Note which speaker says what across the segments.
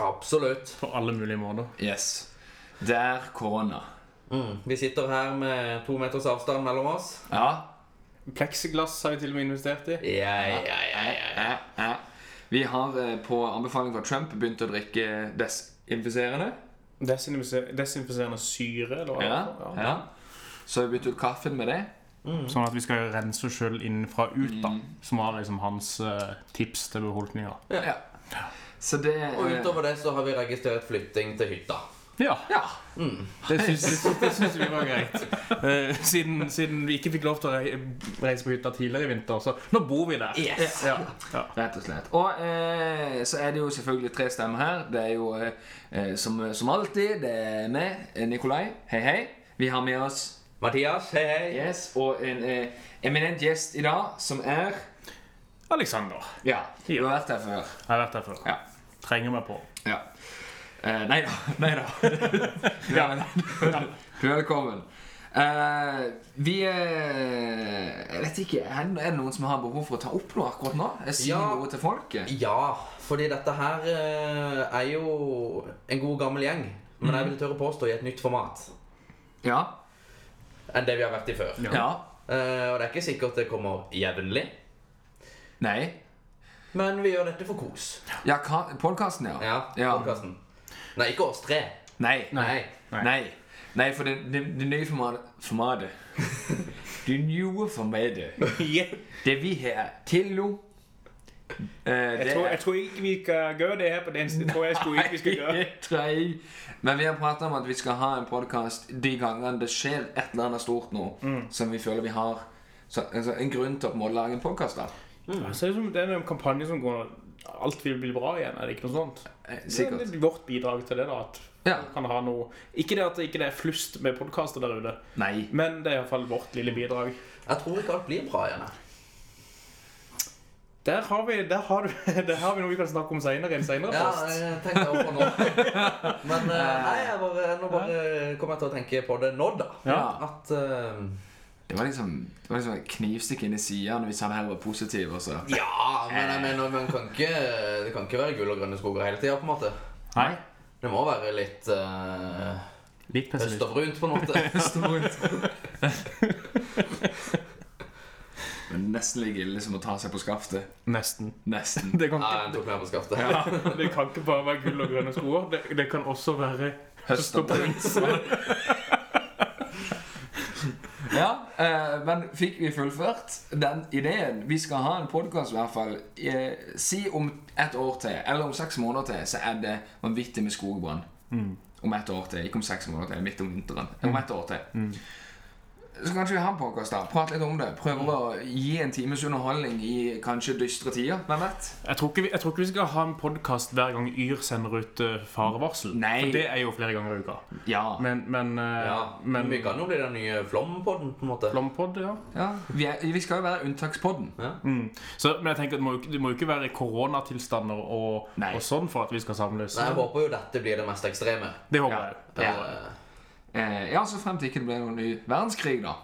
Speaker 1: Absolutt.
Speaker 2: På alle mulige måter.
Speaker 3: Yes. Der korona.
Speaker 1: Vi sitter her med to meters avstand mellom oss.
Speaker 3: Ja.
Speaker 2: Plexiglass har jeg til og med investert i.
Speaker 1: Ja, ja, ja,
Speaker 3: Eh, eh. Vi har eh, på anbefaling fra Trump begynt å drikke desinfiserende.
Speaker 2: Desinfise- Desinfiserende syre, eller hva?
Speaker 3: Ja.
Speaker 2: det er.
Speaker 3: ja. Så har vi byttet ut kaffen med det.
Speaker 2: Sånn at vi skal rense oss sjøl innenfra og ut, da.
Speaker 3: Mm.
Speaker 2: Som var liksom hans eh, tips til befolkninga.
Speaker 3: Ja. Så det
Speaker 1: Og
Speaker 3: eh,
Speaker 1: utover det så har vi registrert flytting til hytta.
Speaker 2: Ja,
Speaker 3: Ja.
Speaker 2: det syns, det syns vi var greit. Eh, siden, siden vi ikke fikk lov til å rei- reise på hytta tidligere i vinter, så nå bor vi der.
Speaker 1: Yes.
Speaker 2: Ja. Ja.
Speaker 3: Rett og slett. Og eh, så er det jo selvfølgelig tre stemmer her. Det er jo eh, eh, som, som alltid det er meg, eh, Nikolai. Hei, hei. Vi har med oss
Speaker 1: Mathias, hei, hei.
Speaker 3: yes, og en eh, eminent gjest i dag, som er
Speaker 2: Alexander.
Speaker 3: Ja, du har vært her før.
Speaker 2: Jeg har vært der før.
Speaker 3: Ja.
Speaker 2: Trenger meg på.
Speaker 3: ja. Eh, nei da. Nei da. Du er vel- du er velkommen. Eh, vi eh, Jeg vet ikke. Er det er det noen som har behov for å ta opp noe akkurat nå? Jeg sier
Speaker 1: Ja.
Speaker 3: noe til folket.
Speaker 1: Ja, fordi dette her eh, er jo en god gammel gjeng. Men jeg vil tørre påstå i et nytt format
Speaker 3: Ja.
Speaker 1: enn det vi har vært i før.
Speaker 2: Ja.
Speaker 3: Ja.
Speaker 1: Eh, og det er ikke sikkert det kommer jevnlig,
Speaker 3: Nei.
Speaker 1: men vi gjør dette for kos.
Speaker 3: Ja, ka- podcasten, ja.
Speaker 1: Ja, podcasten. Nei, ikke oss tre.
Speaker 3: Nei. Nei.
Speaker 1: Nei.
Speaker 2: Nei.
Speaker 3: Nei. Nei, for det, det, det nye formatet Formatet. Det nye formatet. Det vi har til nå eh, det
Speaker 4: Jeg tror,
Speaker 3: er-
Speaker 4: jeg tror ikke vi skal gjøre det her på den siden. Jeg tror jeg sgu ikke vi skal gjøre
Speaker 3: Nei, tre. Men vi har pratet om at vi skal ha en podcast de gangene det skjer et eller annet stort nå,
Speaker 4: Mm.
Speaker 3: som vi føler vi har så, altså, en grunn til å på en måte lage en podcast da.
Speaker 4: det. Ser ut som det er en kampanje som går Alt vil bli bra igjen, er det ikke noe sånt?
Speaker 3: Eh,
Speaker 4: Det
Speaker 3: Sikkert.
Speaker 4: er vårt bidrag til det, da. At
Speaker 3: Ja.
Speaker 4: vi kan ha noe Ikke det at det ikke er flust med podkaster der ute,
Speaker 3: Nei.
Speaker 4: men det er iallfall vårt lille bidrag.
Speaker 1: Jeg tror ikke alt blir bra igjen. jeg.
Speaker 4: Der har vi, der har du, der har vi noe vi kan snakke om seinere i en seinere
Speaker 1: Ja,
Speaker 4: post.
Speaker 1: jeg tenkte jeg over nå. Men eh, nei, jeg bare, nå bare kom jeg til å tenke på det nå, da.
Speaker 3: Ja.
Speaker 1: At eh,
Speaker 3: Det var liksom, det var liksom et knivstikk inn i siden hvis han her var positiv altså. og så.
Speaker 1: Ja, men jeg mener, man kan ikke, det kan ikke være gull og grønne skoger hele tida, på en måte.
Speaker 2: Nei.
Speaker 1: Det må være litt eh,
Speaker 2: Litt
Speaker 1: øst
Speaker 2: pessimist.
Speaker 1: og brunt, på en måte.
Speaker 3: Men nesten like ille som å ta seg på skaftet.
Speaker 2: Nesten.
Speaker 3: Nesten.
Speaker 2: Det kan,
Speaker 1: Nei,
Speaker 2: ikke,
Speaker 1: jeg tok meg på skaftet.
Speaker 4: Det kan ikke bare være gull og grønne skoer. Det, det kan også være
Speaker 3: Høst og brun. ja, eh, men fikk vi fullført den ideen? Vi skal ha en podkast, i hvert fall. Eh, si om et år til, eller om seks måneder til, så er det vanvittig med skogbrann. Om et år til. Ikke om seks måneder til, midt om vinteren. Om et år til. Så kanskje vi har en podcast da, Prate litt om det. Prøve å gi en times underholdning i kanskje dystre tider. Hvem vet?
Speaker 2: Jeg tror, ikke vi, jeg tror ikke vi skal ha en podkast hver gang Yr sender ut eh, farevarsel.
Speaker 3: Nei.
Speaker 2: For det er jo flere ganger i uka.
Speaker 3: Ja.
Speaker 2: Men, men, eh,
Speaker 1: Ja, men
Speaker 2: men
Speaker 1: vi kan jo bli den nye flompodden, på en måte.
Speaker 2: Flompod, ja.
Speaker 3: Ja, vi, er, vi skal jo være unntakspodden.
Speaker 2: Mm. Så, men jeg tenker at det må, jo ikke- det må jo ikke være koronatilstander og,
Speaker 3: Nei.
Speaker 2: og sånn for at vi skal samles.
Speaker 1: Nei, jeg håper jo dette blir det mest ekstreme.
Speaker 2: Det håper
Speaker 3: Ja.
Speaker 2: jeg.
Speaker 3: Ja.
Speaker 1: Eh,
Speaker 3: Eh, ja, så frem til ikke det ble noen ny verdenskrig, da.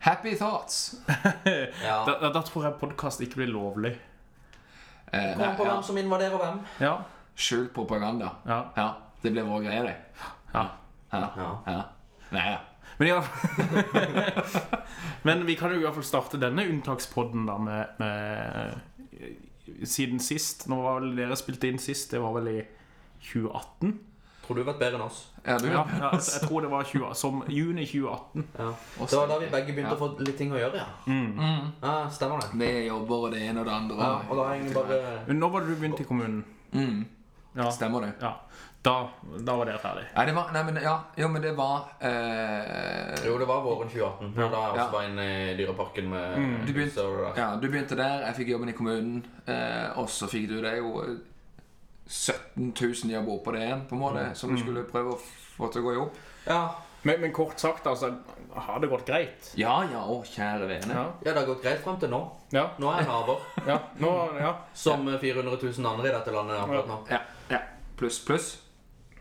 Speaker 3: Happy thoughts.
Speaker 1: ja.
Speaker 2: Da, da, da tror jeg podkast ikke blir lovlig.
Speaker 3: Eh,
Speaker 1: Kom på
Speaker 3: ja.
Speaker 1: hvem som invaderer hvem.
Speaker 2: Ja.
Speaker 3: Skjult propaganda.
Speaker 2: Ja.
Speaker 3: Ja, det ble vår greie, det.
Speaker 2: ja.
Speaker 3: Ja.
Speaker 1: Ja.
Speaker 3: ja. Nei, ja.
Speaker 2: Men, ja. men vi kan jo i hvert fall starte denne unntakspodden da med, med eh, Siden sist. Nå var vel dere spilte inn sist, det var vel i 2018?
Speaker 1: Tror du har vært bedre enn oss?
Speaker 3: Ja, du,
Speaker 2: Ja, ja, altså, jeg jeg tror det var 20, som juni 2018.
Speaker 1: Ja.
Speaker 3: Oss
Speaker 1: Det var da
Speaker 3: egentlig.
Speaker 1: vi begge begynte
Speaker 3: Ja.
Speaker 1: å få litt ting å gjøre, ja.
Speaker 3: Mm.
Speaker 1: Ja, stemmer det.
Speaker 3: Vi jobber og det ene og det andre.
Speaker 1: Mm. Ja, og da har jeg bare
Speaker 2: Men Når var det du begynte i kommunen?
Speaker 3: Mm,
Speaker 2: Ja,
Speaker 3: stemmer det.
Speaker 2: ja. Da, da var dere ferdig.
Speaker 3: Nei, det var Nei, men ja. Jo, men det var eh,
Speaker 1: Jo, det var våren 2018. Da jeg også
Speaker 3: Ja. Mm,
Speaker 1: var inne i Dyreparken med
Speaker 3: Du begynte-
Speaker 1: huset og det der.
Speaker 3: Ja, du begynte der, jeg fikk jobben i kommunen, eh, og så fikk du deg jo eh, 17 000 jobber oppå det igjen, på en måte, som du skulle prøve å få til å gå i opp.
Speaker 1: Ja.
Speaker 4: Men, men kort sagt, altså, har det gått greit?
Speaker 3: Ja ja, å kjære vene.
Speaker 4: Ja.
Speaker 1: ja, det har gått greit fram til nå.
Speaker 4: Ja.
Speaker 1: Nå er jeg en arver,
Speaker 4: ja. Nå, ja.
Speaker 1: som eh, 400 000 andre i dette landet akkurat nå.
Speaker 3: Ja. ja. Pluss, pluss.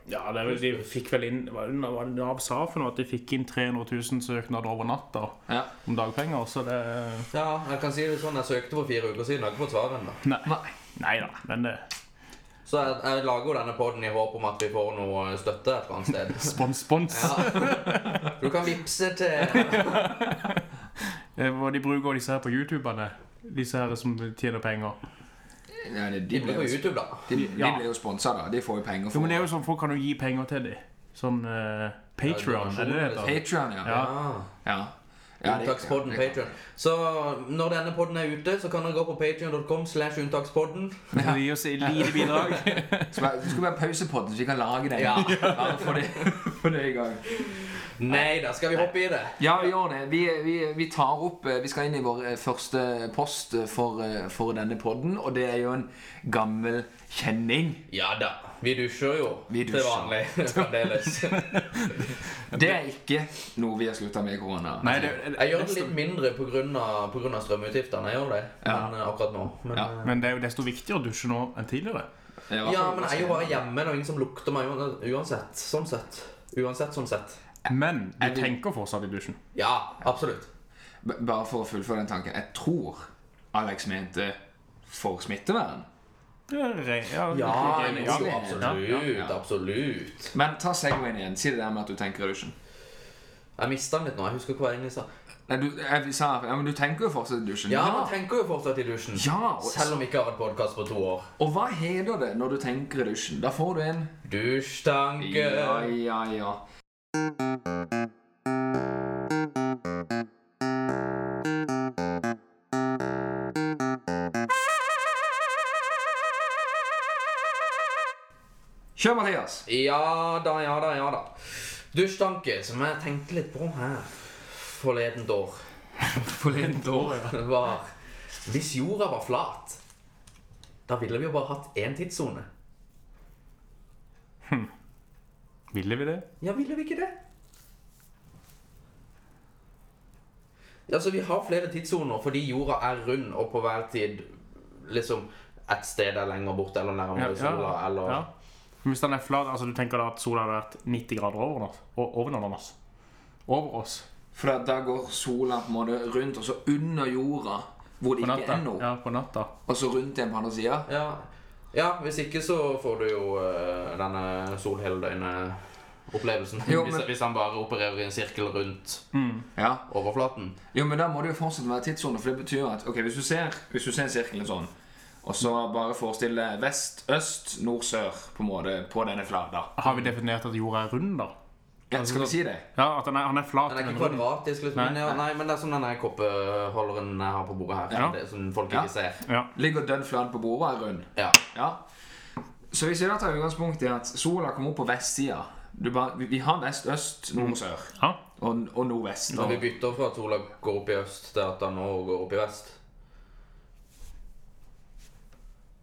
Speaker 4: ja det er vel, de fikk vel inn Hva var det Nav sa for noe? At de fikk inn 300 000 søknader over natta
Speaker 3: Ja.
Speaker 4: om dagpenger. Så det
Speaker 1: Ja, jeg kan si det sånn, jeg søkte for fire uker siden, jeg har ikke fått svar ennå.
Speaker 3: Nei.
Speaker 4: Nei da. Men det
Speaker 1: Så jeg, jeg lager jo denne poden i håp om at vi får noe støtte et eller annet sted.
Speaker 4: Spons, spons.
Speaker 1: Ja. Du kan vippse til
Speaker 4: Eh, Hva de bruker disse her på YouTubene. Disse her som tjener penger.
Speaker 3: Nei, de,
Speaker 1: De
Speaker 3: de,
Speaker 1: bruker
Speaker 3: ble jo,
Speaker 1: YouTube, da.
Speaker 3: de, de
Speaker 4: Ja.
Speaker 3: ble jo sponsa, da. De får jo penger
Speaker 4: Jo, men det er
Speaker 3: for
Speaker 4: jo sånn, Folk kan jo gi penger til dem. Sånn uh, Patrion, er det det heter?
Speaker 3: Patreon, ja.
Speaker 4: Ja.
Speaker 1: Ah.
Speaker 3: Ja. Ja, det-
Speaker 1: Unntakspodden
Speaker 3: ja, det-
Speaker 1: Patreon. Så når denne podden er ute, så kan dere gå på patreon.com slash unntakspodden.
Speaker 4: Ja. Gi oss et lite bidrag.
Speaker 3: Skal være- Det skal være pausepodden, så vi kan lage den.
Speaker 1: Ja.
Speaker 3: Bare for det, for det i gang.
Speaker 1: Nei, da skal vi hoppe i det.
Speaker 3: Ja, vi gjør det. Vi, vi, vi tar opp eh, Vi skal inn i vår eh, første post eh, for, eh, for denne podden, og det er jo en gammel kjenning.
Speaker 1: Ja da. Vi dusjer jo
Speaker 3: Vi
Speaker 1: til
Speaker 3: dusjer.
Speaker 1: vanlig fremdeles.
Speaker 3: Det er ikke noe vi har slutta med i korona.
Speaker 4: Nei, det,
Speaker 1: Jeg gjør det litt mindre pga. strømutgiftene. Jeg gjør det. Men eh, akkurat nå. Men,
Speaker 3: Ja.
Speaker 1: eh,
Speaker 4: Men det er jo desto viktigere å dusje nå enn tidligere.
Speaker 3: Det er Altså, i hvert
Speaker 1: Ja,
Speaker 3: fall-
Speaker 1: sånn men jeg er jo bare hjemme, og ingen som lukter meg uan- uansett. Sånn sett. Uansett, sånn sett.
Speaker 4: Men
Speaker 3: Jeg
Speaker 4: du
Speaker 3: vil-
Speaker 4: tenker fortsatt i dusjen.
Speaker 1: Ja, absolutt.
Speaker 3: B- Bare for å fullføre den tanken. Jeg tror Alex mente for smittevern.
Speaker 4: Ja, re- ja,
Speaker 1: Ja,
Speaker 4: ok,
Speaker 3: jeg
Speaker 4: ja.
Speaker 3: tror det.
Speaker 1: absolutt. Absolutt.
Speaker 3: Men ta Segwayen igjen. Si det der med at du tenker i dusjen.
Speaker 1: Jeg mista den litt nå. Jeg husker ikke hva jeg egentlig sa.
Speaker 3: Nei, du, jeg sa, ja, men du tenker jo fortsatt i dusjen.
Speaker 1: Ja, man tenker jo fortsatt i dusjen.
Speaker 3: Ja, og-
Speaker 1: Selv om vi ikke har hatt podkast på to år.
Speaker 3: Og hva heter det når du tenker i dusjen? Da får du en
Speaker 1: Dusjtanke.
Speaker 3: Ja, ja, ja. Kjør, Mathias.
Speaker 1: Ja da, ja da, ja da. Dusjtanke, som jeg tenkte litt på her forledent år,
Speaker 4: Forleden år, ja.
Speaker 1: var Hvis jorda var flat, da ville vi jo bare hatt én tidssone.
Speaker 4: Ville vi det?
Speaker 1: Ja, ville vi ikke det? Altså, vi har flere tidssoner fordi jorda er rund og på hver tid liksom et sted er lenger borte eller nærmere sola eller
Speaker 4: ja. Men Hvis den er flat, altså du tenker da at sola hadde vært 90 grader over oss? o- Over oss? Over oss?
Speaker 3: For da- da går sola på en måte rundt, og så under jorda, hvor det ikke
Speaker 4: På natta?
Speaker 3: er noe.
Speaker 4: Ja, på natta.
Speaker 3: Og så rundt igjen på andre sida.
Speaker 1: ja. ja, hvis ikke så får du jo eh, denne sol hele døgnet-opplevelsen.
Speaker 3: Jo,
Speaker 1: Hvis,
Speaker 3: men-
Speaker 1: hvis han bare opererer i en sirkel rundt
Speaker 4: Mm.
Speaker 3: Ja.
Speaker 1: overflaten.
Speaker 3: Jo, men da må det jo fortsatt være tidssone, for det betyr at ok, hvis du ser, hvis du ser sirkelen sånn, og så bare forestille vest, øst, nord, sør på en måte på denne flata.
Speaker 4: Har vi definert at jorda er rund, da?
Speaker 3: Ja, skal
Speaker 4: Altså-
Speaker 3: vi si det?
Speaker 4: Ja, at den er, han er flat.
Speaker 1: Den er ikke
Speaker 4: men rund.
Speaker 1: kvadratisk, liksom.
Speaker 4: Nei,
Speaker 1: men ja, nei, men det er som denne koppeholderen jeg har på bordet her.
Speaker 4: Ja.
Speaker 1: Det er Som folk
Speaker 3: Ja.
Speaker 1: ikke ser.
Speaker 4: Ja.
Speaker 3: Ligger dønn flat på bordet er rund.
Speaker 1: Ja.
Speaker 3: Ja. Så hvis vi da tar utgangspunkt i at sola kommer opp på vestsida du bare, vi, vi har vest, øst, nord og sør.
Speaker 4: ja.
Speaker 3: Og, og nordvest.
Speaker 1: Når vi
Speaker 3: Og,
Speaker 1: bytter fra at sola går opp i øst til at den nå går opp i vest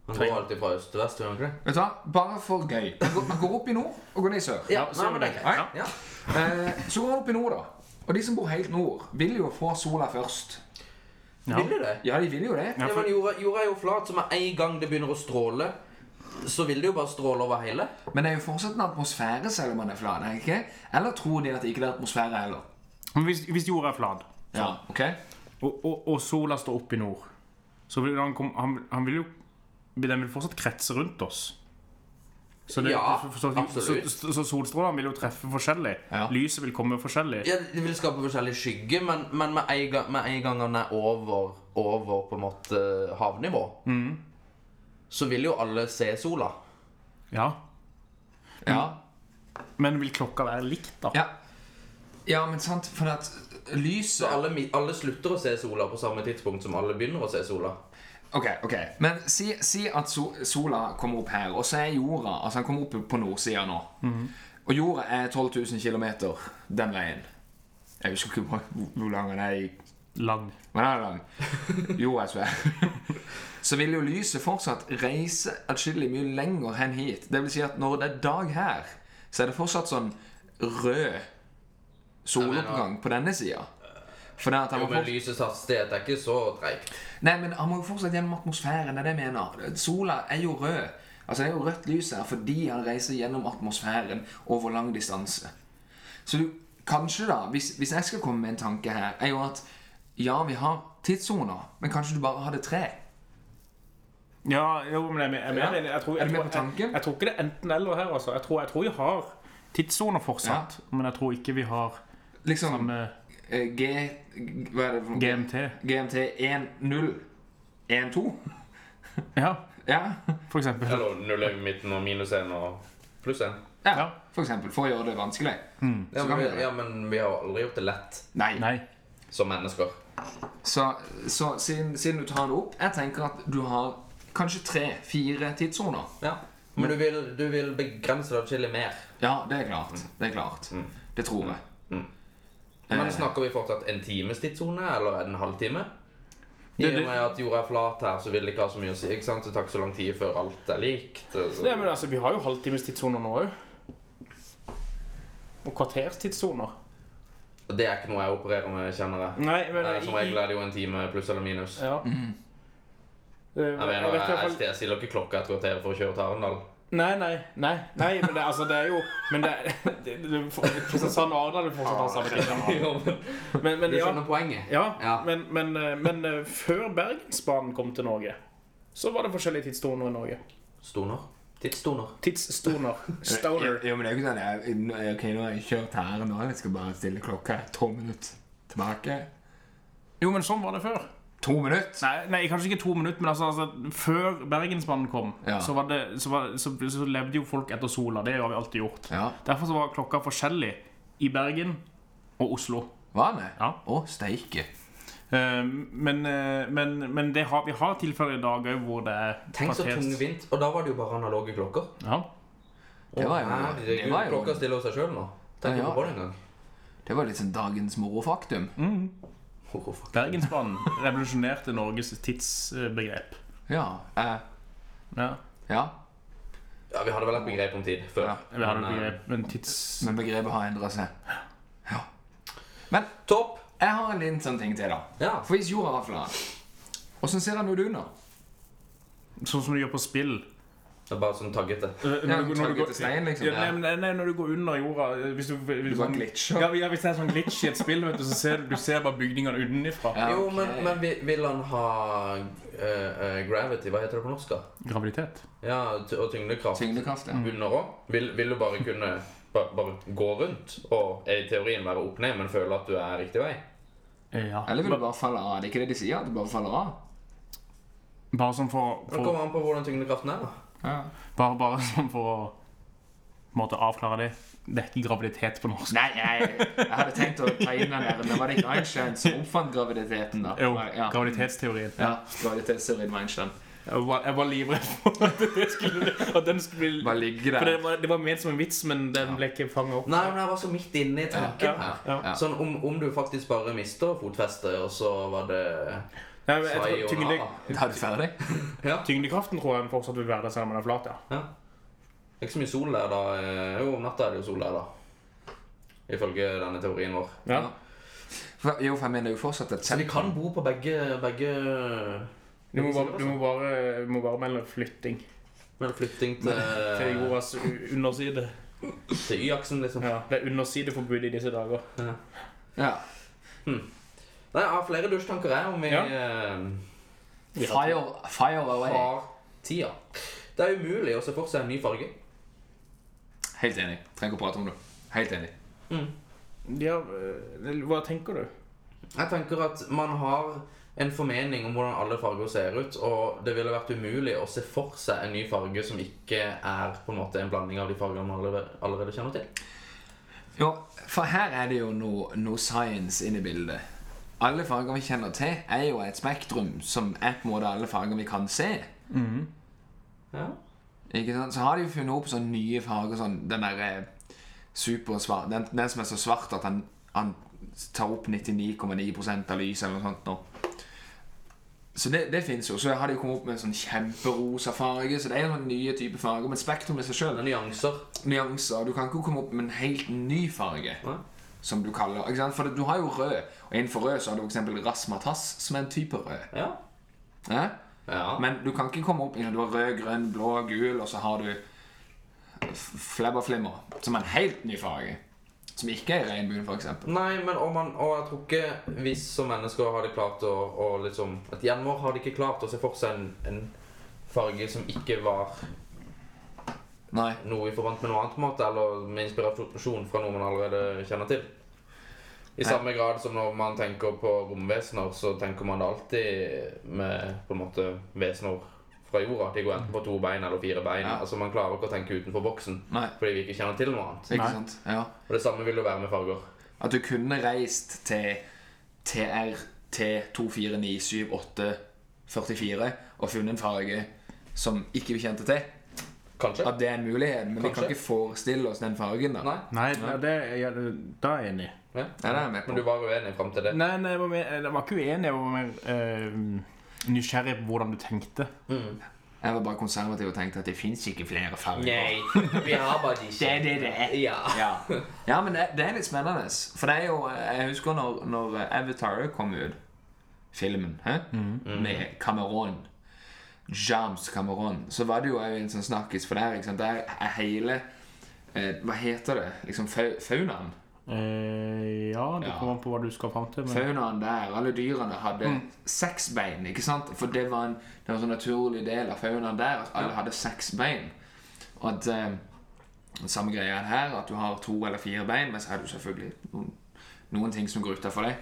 Speaker 1: Han går alltid fra øst til vest, gjør han ikke det?
Speaker 3: vet du hva? Bare for gøy. Man går, man går opp i nord og går ned i sør.
Speaker 1: Ja,
Speaker 4: så
Speaker 1: nei, men det er
Speaker 3: greit.
Speaker 1: greit. Ja.
Speaker 3: Eh, så går man opp i nord, da. Og de som bor helt nord, vil jo få sola først.
Speaker 4: Ja.
Speaker 1: Vil du det?
Speaker 3: Ja, de vil jo det.
Speaker 1: Ja, men jorda, jorda er jo flat, så med en gang det begynner å stråle, så vil det jo bare stråle over hele.
Speaker 3: Men det er jo fortsatt en atmosfære selv om den er flat, er det ikke? Eller tror de at det ikke er atmosfære heller?
Speaker 4: Men hvis, hvis jorda er flat,
Speaker 3: Ja, ok?
Speaker 4: og, og, og sola står opp i nord, så vil han, kom, han, han vil jo Den vil fortsatt kretse rundt oss. Så det,
Speaker 1: Ja,
Speaker 4: så, så, så,
Speaker 1: absolutt.
Speaker 4: så, så solstrålene vil jo treffe forskjellig.
Speaker 3: Ja.
Speaker 4: Lyset vil komme forskjellig.
Speaker 1: Ja, Det vil skape forskjellig skygge, men, men med, en gang, med en gang den er over, over på en måte eh, havnivå, Mm. så vil jo alle se sola.
Speaker 4: Ja.
Speaker 3: Ja.
Speaker 4: Men vil klokka være likt, da?
Speaker 3: Ja, ja men sant, for at lyset
Speaker 1: Så alle, mi- alle slutter å se sola på samme tidspunkt som alle begynner å se sola.
Speaker 3: Ok, ok. Men si, si at so, sola kommer opp her, og så er jorda Altså, den kommer opp på nordsida nå. Og jorda er 12 000 km den veien. Jeg husker ikke hvor, hvor lang den er i
Speaker 4: Lang.
Speaker 3: Men den er lang. Jorda er svær. så vil jo lyset fortsatt reise atskillig mye lenger hen hit. Det vil si at når det er dag her, så er det fortsatt sånn rød soloppgang på denne sida. For det at han
Speaker 1: Jo,
Speaker 3: må
Speaker 1: men
Speaker 3: fortsatt-
Speaker 1: lysets hastighet er ikke så treigt.
Speaker 3: Nei, men han må jo fortsatt gjennom atmosfæren. Det er det jeg mener. Sola er jo rød. Altså, det er jo rødt lys her fordi han reiser gjennom atmosfæren over lang distanse. Så du, kanskje, da, hvis, hvis jeg skal komme med en tanke her, er jo at ja, vi har tidssoner, men kanskje du bare hadde tre?
Speaker 4: Ja, jo, men jeg, jeg,
Speaker 3: Ja.
Speaker 4: mener, jeg, tror,
Speaker 3: Er
Speaker 4: jeg,
Speaker 3: du med
Speaker 4: tror,
Speaker 3: på
Speaker 4: jeg,
Speaker 3: tanken?
Speaker 4: jeg tror ikke det er enten-eller her. Altså. Jeg, tror, jeg tror vi har tidssoner fortsatt, men jeg tror ikke vi har
Speaker 3: Liksom
Speaker 4: samme
Speaker 3: eh, G... G- Hva er det for noe?
Speaker 4: GMT.
Speaker 3: GMT 1012?
Speaker 4: Ja,
Speaker 3: Ja.
Speaker 4: for eksempel.
Speaker 1: Eller null i midten og minus én og pluss én.
Speaker 3: ja.
Speaker 4: Ja.
Speaker 3: For eksempel. For å gjøre det vanskelig.
Speaker 1: Ja,
Speaker 3: Så kan
Speaker 1: men
Speaker 3: vi
Speaker 1: vi-
Speaker 3: gjøre det.
Speaker 1: ja, men vi har jo aldri gjort det lett
Speaker 3: Nei.
Speaker 4: Nei.
Speaker 1: som mennesker.
Speaker 3: Så, så siden, siden du tar det opp Jeg tenker at du har kanskje tre-fire tidssoner.
Speaker 1: Ja. Men du vil, du vil begrense det atskillig mer.
Speaker 3: Ja, det er klart. Mm. Det er klart. Det tror jeg.
Speaker 4: Eh.
Speaker 1: Men snakker vi fortsatt en times tidssone, eller en halvtime? I og med at jorda er flat her, så vil det ikke ha så mye å si. ikke sant? Det tar ikke så lang tid før alt er likt. Så.
Speaker 4: Ja, men altså, vi har jo halvtimes tidssoner nå òg. Og kvarters tidssoner.
Speaker 1: Og det er ikke noe jeg opererer med, kjenner jeg.
Speaker 4: Nei, men
Speaker 1: Eh,
Speaker 4: i-
Speaker 1: Som regel er det jo en time pluss eller minus.
Speaker 4: Ja.
Speaker 3: Mhm.
Speaker 4: Eh,
Speaker 1: Jeg mener,
Speaker 4: jeg vet i hvert
Speaker 1: jeg,
Speaker 4: fall
Speaker 1: jeg stiller ikke klokka etter kvarter for å kjøre til Arendal.
Speaker 4: Nei, nei, nei, nei men det, altså, det er jo Men det, det, det Kristiansand og Arendal vil fortsatt ha samme tid.
Speaker 1: Jo, men-
Speaker 4: Men, men
Speaker 3: sånn
Speaker 1: Du
Speaker 4: ja,
Speaker 1: skjønner poenget?
Speaker 4: ja,
Speaker 1: Ja.
Speaker 4: men, men, eh, men eh, før Bergensbanen kom til Norge, så var det forskjellige tidsstoner i Norge.
Speaker 1: Stoner. Tidsstoner.
Speaker 4: Tidsstoner. Stoner.
Speaker 3: Jo, men det er jo ikke sånn jeg, nå- Ok, nå har jeg kjørt her nå. Jeg skal bare stille klokka to minutter tilbake.
Speaker 4: Jo, men sånn var det før.
Speaker 3: To minutter?
Speaker 4: Nei, nei kanskje ikke to minutter, men altså, altså før Bergensbanen kom,
Speaker 3: Ja.
Speaker 4: så, var det, så, var, så, så levde jo folk etter sola. Det har vi alltid gjort.
Speaker 3: Ja.
Speaker 4: Derfor så var klokka forskjellig i Bergen og Oslo.
Speaker 3: Var det?
Speaker 4: Ja.
Speaker 3: Å, steike.
Speaker 4: Eh, men, eh, men, men det har, vi har tilfeller i dag òg hvor det er
Speaker 1: Tenk så
Speaker 4: kvarters-
Speaker 1: tungvint. Og da var det jo bare analoge klokker. Ah,
Speaker 4: Ja.
Speaker 3: Det var jo, det
Speaker 1: Herregud,
Speaker 3: var jo
Speaker 1: klokka stiller seg sjøl nå. Tenk
Speaker 3: Ja,
Speaker 1: ikke
Speaker 3: ja.
Speaker 1: på det engang.
Speaker 3: Det var litt sånn dagens morofaktum.
Speaker 1: Oh, fuck.
Speaker 4: Bergensbanen revolusjonerte Norges tidsbegrep.
Speaker 3: Ja. Eh,
Speaker 4: Ja.
Speaker 3: ja.
Speaker 1: Ja, vi hadde vel et begrep om tid før.
Speaker 3: Ja,
Speaker 4: Vi hadde
Speaker 1: Men,
Speaker 4: et
Speaker 1: eh,
Speaker 4: begrep, men tids...
Speaker 3: Men begrepet har endra seg. Ja. Men
Speaker 1: Topp!
Speaker 3: jeg har en liten sånn ting til, da.
Speaker 1: Ja.
Speaker 3: For hvis jorda var flat, åssen ser den ut under?
Speaker 4: Sånn som du gjør på spill.
Speaker 1: Det er bare sånn taggete.
Speaker 4: Eh,
Speaker 3: Ja,
Speaker 4: du-
Speaker 3: tagget
Speaker 4: du går-
Speaker 3: til stein, liksom,
Speaker 4: Ja,
Speaker 3: ja.
Speaker 4: nei, men- nei, nei, når du går under jorda eh, Hvis du, hvis
Speaker 3: Du bare
Speaker 4: sånn-
Speaker 3: glitcher.
Speaker 4: Ja, ja, hvis det er sånn glitch i et spill, vet du, så ser du, du ser bare bygningene utenfra.
Speaker 3: Ja,
Speaker 1: Jo,
Speaker 3: ok.
Speaker 1: men, men vi- vil han ha eh, eh, gravity? Hva heter det på norsk? da?
Speaker 4: Graviditet.
Speaker 1: Ja, ty- Og tyngdekraft
Speaker 3: Tyngdekraft, ja.
Speaker 1: under òg? Vil, vil du bare kunne ba, bare gå rundt og eh, i teorien være opp ned, men føle at du er riktig vei?
Speaker 4: Eh, Ja.
Speaker 3: Eller vil du
Speaker 4: Ba-
Speaker 3: bare falle av? Det er ikke det de sier, at du bare faller av?
Speaker 4: Bare sånn for,
Speaker 1: Det
Speaker 4: for
Speaker 1: kommer an på hvordan tyngdekraften er. da.
Speaker 3: Ja.
Speaker 4: bare, bare sånn for å på en måte avklare det. Det er ikke graviditet på norsk.
Speaker 3: Nei, jeg, jeg hadde tenkt å ta inn den der, men var det ikke Einstein som oppfant graviditeten, da?
Speaker 4: Jo,
Speaker 3: Nei, ja.
Speaker 4: graviditetsteorien.
Speaker 3: Ja, graviditetsteorien med Einstein.
Speaker 4: Jeg var, jeg var livredd for at, det skulle, at den skulle bli
Speaker 3: Bare ligge
Speaker 4: For det
Speaker 3: der.
Speaker 4: var, det var ment som en vits, men den ble ikke fanget opp.
Speaker 1: Nei, men jeg var så midt inne i tanken
Speaker 4: Ja,
Speaker 1: her.
Speaker 4: ja,
Speaker 3: ja.
Speaker 1: Sånn om, om du faktisk bare mister fotfestet, og så var det
Speaker 4: Nei, men jeg
Speaker 1: Svai
Speaker 4: tror
Speaker 1: og
Speaker 4: tyngde,
Speaker 1: Nara.
Speaker 3: Da er du ferdig?
Speaker 4: tyngdekraften tror jeg den fortsatt vil være der, selv om den er flat, ja.
Speaker 1: Ja. Det er ikke så mye sol der, da. Eh, Jo, om natta er det jo sol der, da. Ifølge denne teorien vår.
Speaker 4: ja.
Speaker 3: For, jo, for jeg mener jo fortsatt et
Speaker 1: Så vi
Speaker 3: sentrum.
Speaker 1: kan bo på begge, begge
Speaker 4: Du, må bare, du må, bare, du må bare melde flytting
Speaker 1: Med flytting til, eh,
Speaker 4: til jordas u- underside.
Speaker 1: til Y-aksen, liksom.
Speaker 4: Ja, det er undersideforbud i disse dager.
Speaker 3: Ja.
Speaker 1: Nei, jeg har flere dusjtanker, jeg, om vi
Speaker 4: Ja.
Speaker 1: eh,
Speaker 3: Fire, fire away.
Speaker 1: har tida. Det er umulig å se for seg en ny farge.
Speaker 3: Helt enig. Trenger ikke å prate om det. Helt enig.
Speaker 4: Ja, eh, hva tenker du?
Speaker 1: Jeg tenker at man har en formening om hvordan alle farger ser ut, og det ville vært umulig å se for seg en ny farge som ikke er på en måte en blanding av de fargene man allerede, allerede kjenner til.
Speaker 3: Jo, for her er det jo noe, noe science inne i bildet. Alle farger vi kjenner til, er jo et spektrum som er på en måte alle farger vi kan se.
Speaker 1: Ja.
Speaker 3: Ikke sant? Så har de jo funnet opp sånne nye farger sånn, Den der eh, supersvart den, den som er så svart at han, han tar opp 99,9 av lyset eller noe sånt nå. Så det, det fins jo. Så har de kommet opp med en sånn kjemperosa farge. Så det er jo noen nye typer farger. Men Spektrum i seg sjøl
Speaker 1: Det er nyanser.
Speaker 3: nyanser. Du kan ikke komme opp med en helt ny farge.
Speaker 1: Nei.
Speaker 3: Som du kaller ikke sant? For du har jo rød, og innenfor rød så har du f.eks. rasmatas, som er en type rød.
Speaker 1: Ja.
Speaker 3: Ja?
Speaker 1: ja.
Speaker 3: Men du kan ikke komme opp med du har rød, grønn, blå, gul, og så har du flabberflimmer, som er en helt ny farge. Som ikke er i regnbuen, f.eks.
Speaker 1: Nei, men og, man, og jeg tror ikke vi som mennesker har det klart å, å liksom At hjernen vår har det ikke klart å se for seg en, en farge som ikke var
Speaker 3: Nei.
Speaker 1: noe vi forbandt med noe annet, på en måte, eller med inspirasjon fra noe man allerede kjenner til. I samme grad som når man tenker på romvesener, så tenker man det alltid med på en måte vesener fra jorda. De går enten på to bein eller fire bein.
Speaker 3: Ja.
Speaker 1: Altså Man klarer ikke å tenke utenfor boksen
Speaker 3: Nei.
Speaker 1: fordi vi ikke kjenner til noe annet.
Speaker 3: Ikke
Speaker 2: Nei.
Speaker 3: sant? Ja.
Speaker 1: Og det samme vil det være med farger.
Speaker 3: At du kunne reist til TRT2497844 og funnet en farge som ikke vi kjente til.
Speaker 1: Kanskje.
Speaker 3: At det er en mulighet, men vi kan
Speaker 1: Kanskje.
Speaker 3: ikke forestille oss den fargen. da.
Speaker 1: Nei.
Speaker 4: Nei, det, det- ja, det- da er jeg enig.
Speaker 1: Ja.
Speaker 3: Ja, det er jeg med på.
Speaker 1: Men du var uenig fram til det.
Speaker 4: Nei, nei, jeg var, mer, jeg var ikke uenig. Jeg var mer eh, nysgjerrig på hvordan du tenkte.
Speaker 3: Jeg var bare konservativ og tenkte at det fins ikke flere farger.
Speaker 1: Nei, vi har bare de
Speaker 3: Det er det det er.
Speaker 1: Ja.
Speaker 3: Ja. ja, men det, det er litt spennende. For det er jo Jeg husker når, når Avatar kom ut, filmen, hæ? med Cameron. James Cameron. Så var det jo en sånn snakkis for der. Ikke sant? Der er hele eh, Hva heter det? Liksom fau- faunaen.
Speaker 4: Eh, ja, det
Speaker 3: Ja.
Speaker 4: kommer an på hva du skal fram til. Men...
Speaker 3: Faunaen der, alle dyrene hadde seks bein, ikke sant? For det var en, det var en sånn naturlig del av faunaen der, at alle hadde seks bein. Og at eh, samme greia her, at du har to eller fire bein, men så har du selvfølgelig noen, noen ting som går utenfor deg.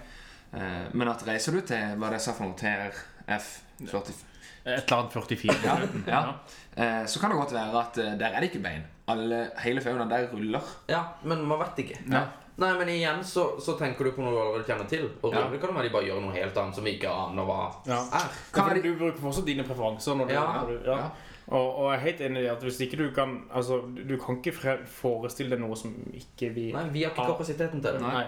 Speaker 3: Eh, men at reiser du til, hva det sa for noe, TRF-44,
Speaker 4: Et eller annet 44.
Speaker 3: ja, ja. Eh, så kan det godt være at eh, der er det ikke bein. Alle, hele faunaen der ruller.
Speaker 1: ja, men man vet ikke.
Speaker 3: Ja.
Speaker 1: Nei, men igjen så, så tenker du på noe du allerede kjenner til. Og
Speaker 3: Ja.
Speaker 1: ruller kan det være de bare gjør noe helt annet som vi ikke aner hva
Speaker 4: Ja.
Speaker 1: er.
Speaker 3: Hva er
Speaker 4: for
Speaker 3: det-
Speaker 4: du bruker fortsatt dine preferanser. Når du,
Speaker 1: Ja.
Speaker 4: når du, Ah, ja.
Speaker 3: Ja.
Speaker 4: Og, og jeg er helt enig i at hvis ikke du kan Altså, du du kan ikke fre- forestille deg noe som ikke vi
Speaker 1: Nei, vi har ikke
Speaker 4: Ja.
Speaker 1: kapasiteten til det.
Speaker 4: Nei.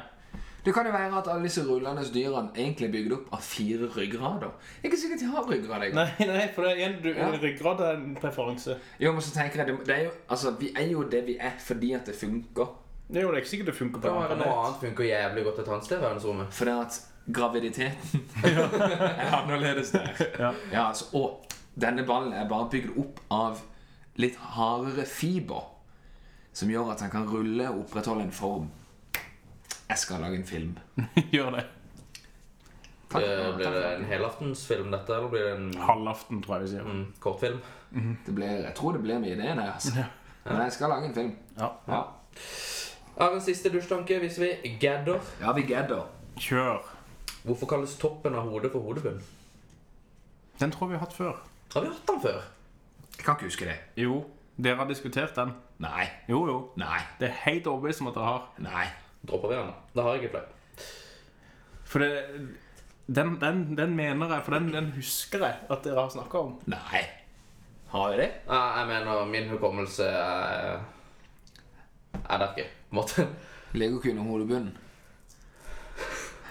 Speaker 3: Det kan jo være at alle disse rullende dyrene egentlig er bygd opp av fire ryggrader. Ikke sikkert de har ryggrad. engang.
Speaker 4: Nei, nei, for det er en, du,
Speaker 3: Ja.
Speaker 4: en ryggrad er en preferanse.
Speaker 3: Jo, men så tenker jeg, det- det er jo, altså, Vi er jo det vi er fordi at det funker.
Speaker 4: Det er jo det er ikke sikkert det funker på
Speaker 1: Kan
Speaker 4: en
Speaker 1: være noe
Speaker 4: planet.
Speaker 1: annet funker jævlig godt et annet sted i verdensrommet.
Speaker 3: Fordi at graviditeten er annerledes der.
Speaker 4: Ja.
Speaker 3: Ja, altså, Og denne ballen er bare bygd opp av litt hardere fiber. Som gjør at han kan rulle og opprettholde en form. Jeg skal lage en film.
Speaker 4: Gjør det.
Speaker 3: Takk.
Speaker 1: Eh, Blir det en helaftensfilm, dette, eller blir det en
Speaker 4: Halvaften, tror jeg vi sier.
Speaker 1: mm, kortfilm?
Speaker 3: Det blir, jeg tror det blir med ideen her. Altså. Men jeg skal lage en film.
Speaker 4: Ja.
Speaker 3: Ja,
Speaker 1: Jeg har en siste dusjtanke hvis vi gadder.
Speaker 3: ja vi gadder.
Speaker 4: Kjør.
Speaker 1: Hvorfor kalles toppen av hodet for hodebunn?
Speaker 4: Den tror jeg vi har hatt før.
Speaker 1: Har vi hatt den før?
Speaker 3: Jeg kan ikke huske det.
Speaker 4: Jo, dere har diskutert den.
Speaker 3: Nei.
Speaker 4: Jo, jo.
Speaker 3: Nei.
Speaker 4: Det er helt overbevist om at dere har.
Speaker 3: Nei.
Speaker 1: Dropper vi den? da? Da har jeg ikke flere.
Speaker 4: For det, den, den, den mener jeg, for den, den husker jeg at dere har snakka om.
Speaker 3: Nei. Har vi det?
Speaker 1: Nei, Jeg mener, min hukommelse er, er der ikke, på en måte.
Speaker 3: Ligger ikke under hodebunnen.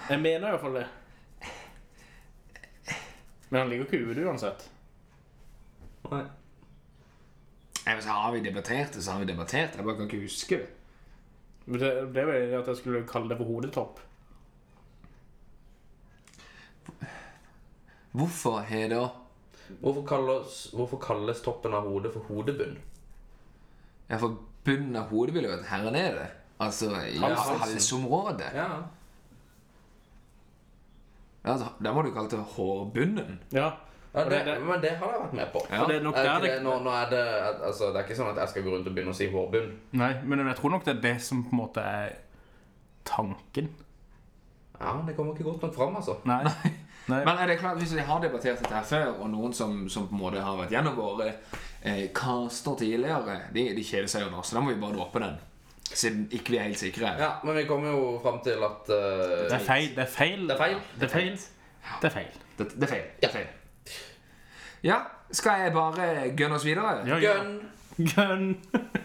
Speaker 4: Jeg mener iallfall det. Men han ligger ikke ute uansett.
Speaker 1: Nei.
Speaker 3: Nei, men så har vi debattert det, så har vi debattert. Jeg bare kan ikke huske det.
Speaker 4: Men Det, det var jo at jeg skulle kalle det for hodetopp.
Speaker 3: Hvorfor har da
Speaker 1: Hvorfor kalles, hvorfor kalles toppen av hodet for hodebunn?
Speaker 3: Ja, for bunnen av hodet vil jo være her nede. Altså i
Speaker 1: Hals- halsen.
Speaker 3: halsområdet.
Speaker 1: Ja.
Speaker 3: Ja, altså, da må du kalle det hårbunnen.
Speaker 4: Ja. Og
Speaker 1: det,
Speaker 4: det- det-
Speaker 1: men det har jeg vært med på.
Speaker 3: Ja.
Speaker 4: Og det er nok
Speaker 1: Er
Speaker 4: der
Speaker 1: ikke
Speaker 4: det
Speaker 1: det, nå, nå er det, altså, det er ikke sånn at jeg skal gå rundt og begynne å si hårbunn.
Speaker 4: Nei, men jeg tror nok det er det som på en måte er tanken.
Speaker 1: Ja, men Det kommer ikke godt nok fram, altså.
Speaker 4: Nei. Nei.
Speaker 3: Men er det klart, hvis vi har debattert dette her før, og noen som, som på en måte har vært gjennom våre eh, caster tidligere, de, de kjeder seg jo nå, så da må vi bare droppe den. Siden ikke vi er helt sikre.
Speaker 1: Ja, Men vi kommer jo fram til at
Speaker 4: det
Speaker 1: eh,
Speaker 4: er feil. Det er feil.
Speaker 1: Det er feil.
Speaker 4: Det er feil. Det er feil.
Speaker 3: Det, det er feil. Det er feil. Ja, skal jeg bare gønne oss videre?
Speaker 4: Ja, ja.
Speaker 1: Gun!
Speaker 4: Gun.
Speaker 3: Ja,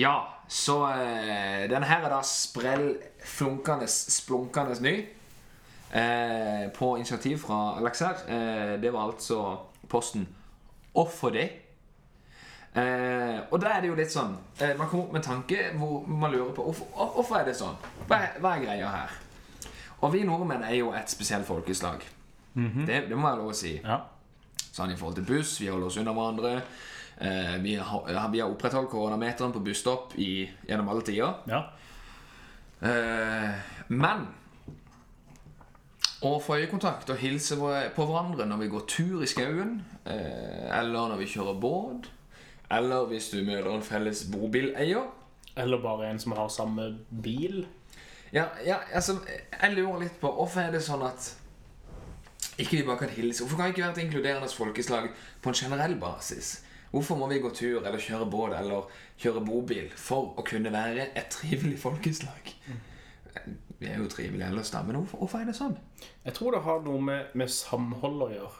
Speaker 3: Ja, så eh, den her er da sprell flunkende, splunkende ny. Eh, på initiativ fra Alexer. Eh, det var altså posten off for deg. Eh, og da er det jo litt sånn eh, Man kommer opp med en tanke hvor man lurer på hvorfor, hvorfor er det sånn. Hva er, hva er greia her? Og vi nordmenn er jo et spesielt folkeslag. det, det må være lov å si.
Speaker 4: Ja.
Speaker 3: Sånn i forhold til buss, vi holder oss unna hverandre. Eh, vi, har, ja, vi har opprettholdt koronameteren på busstopp i, gjennom alle tider.
Speaker 4: ja.
Speaker 3: Eh, men å få øyekontakt og hilse hver- på hverandre når vi går tur i skauen, eh, eller når vi kjører båt, eller hvis du møter en felles bobileier
Speaker 4: Eller bare en som har samme bil.
Speaker 3: ja, ja, altså, jeg lurer litt på Hvorfor er det sånn at ikke vi bare kan hilse? Hvorfor kan vi ikke være et inkluderende folkeslag på en generell basis? Hvorfor må vi gå tur eller kjøre båt eller kjøre bobil for å kunne være et trivelig folkeslag? Vi er jo trivelige ellers, da, men hvorfor, hvorfor er det sånn?
Speaker 4: Jeg tror det har noe med, med samhold å gjøre.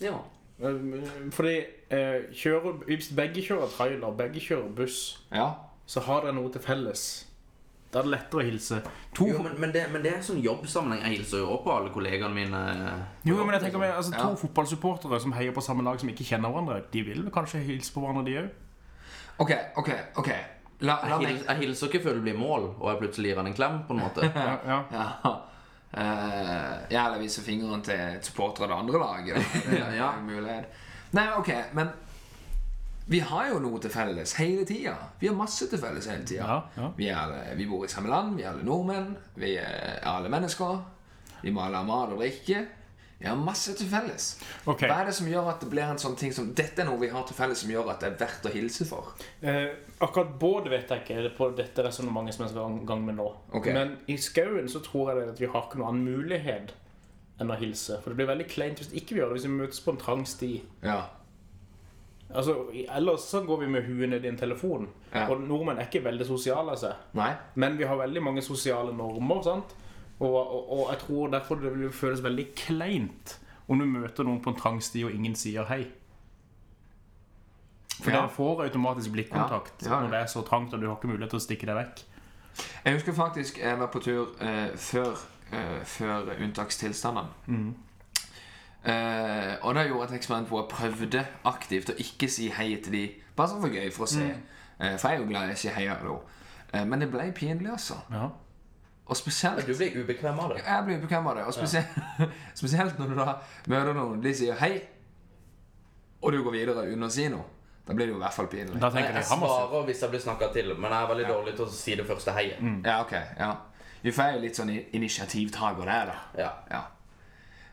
Speaker 1: Ja. Mm.
Speaker 4: Eh, Fordi eh, kjører, hvis begge kjører trailer, begge kjører buss,
Speaker 3: Ja.
Speaker 4: så har dere noe til felles. Da er det lettere å hilse. To,
Speaker 1: Jo, men, men, det, men det er sånn jobbsammenheng. Jeg hilser jo også på alle kollegaene mine.
Speaker 4: jo, men jeg tenker meg, altså, to
Speaker 3: Ja.
Speaker 4: fotballsupportere som heier på samme lag, som ikke kjenner hverandre, de vil vel kanskje hilse på hverandre, de òg?
Speaker 3: OK, OK. ok La, la
Speaker 1: Jeg
Speaker 3: meg
Speaker 1: hilser, jeg hilser ikke før det blir mål, og jeg plutselig gir han en klem, på en måte.
Speaker 4: Ja, ja.
Speaker 3: Ja. Eh, ja, eller vise fingeren til et supporter av det andre laget. da. Det er
Speaker 1: Ja.
Speaker 3: en mulighet. Nei, ok, men vi har jo noe til felles hele tida. Vi har masse til felles hele tida.
Speaker 4: Ja, ja.
Speaker 3: vi, er alle- vi bor i samme land, vi er alle nordmenn, vi er alle mennesker. Vi må alle ha mat og drikke. Vi har masse til felles.
Speaker 4: Ok.
Speaker 3: Hva er det som gjør at det blir en sånn ting som Dette er noe vi har til felles som gjør at det er verdt å hilse for?
Speaker 4: Eh, akkurat båt vet jeg ikke er det på dette resonnementet som jeg skal i gang med nå.
Speaker 3: Ok.
Speaker 4: Men i skauen så tror jeg det at vi har ikke noen annen mulighet enn å hilse. For det blir veldig kleint hvis ikke vi gjør det, hvis vi møtes på en trang sti.
Speaker 3: Ja.
Speaker 4: Altså, i- ellers så går vi med huet ned i en telefon.
Speaker 3: Ja.
Speaker 4: Og nordmenn er ikke veldig sosiale altså. av seg.
Speaker 3: Nei?
Speaker 4: Men vi har veldig mange sosiale normer, sant? Og, og, og jeg tror derfor det vil føles veldig kleint om du møter noen på en trang sti og ingen sier hei. For
Speaker 3: Ja.
Speaker 4: dere får automatisk blikkontakt
Speaker 3: Ja, ja, ja.
Speaker 4: når det er så trangt og du har ikke mulighet til å stikke deg vekk.
Speaker 3: Jeg husker faktisk jeg var på tur eh, før, eh, før unntakstilstanden. Eh, og da gjorde jeg et eksperiment hvor jeg prøvde aktivt å ikke si hei til de Bare sånn for gøy, for å se. Eh, for jeg er jo glad jeg sier hei hallo. Eh, men det ble pinlig, altså.
Speaker 4: Ja.
Speaker 3: Og spesielt
Speaker 1: Du blir ubekvem av det.
Speaker 3: Jeg blir bekvem av det. Og spesielt, spesielt når du da møter noen, de sier hei, og du går videre uten å si noe. Da blir det jo i hvert fall pinlig.
Speaker 4: Da
Speaker 1: Jeg,
Speaker 4: tenker
Speaker 1: jeg
Speaker 4: jeg, han må se.
Speaker 1: svarer hvis jeg blir snakka til, men jeg er veldig dårlig til å si det første heiet.
Speaker 4: Mm.
Speaker 3: Ja, ok, ja Vi får jo litt sånn i- initiativtaker der, da.
Speaker 1: Ja.
Speaker 3: Ja.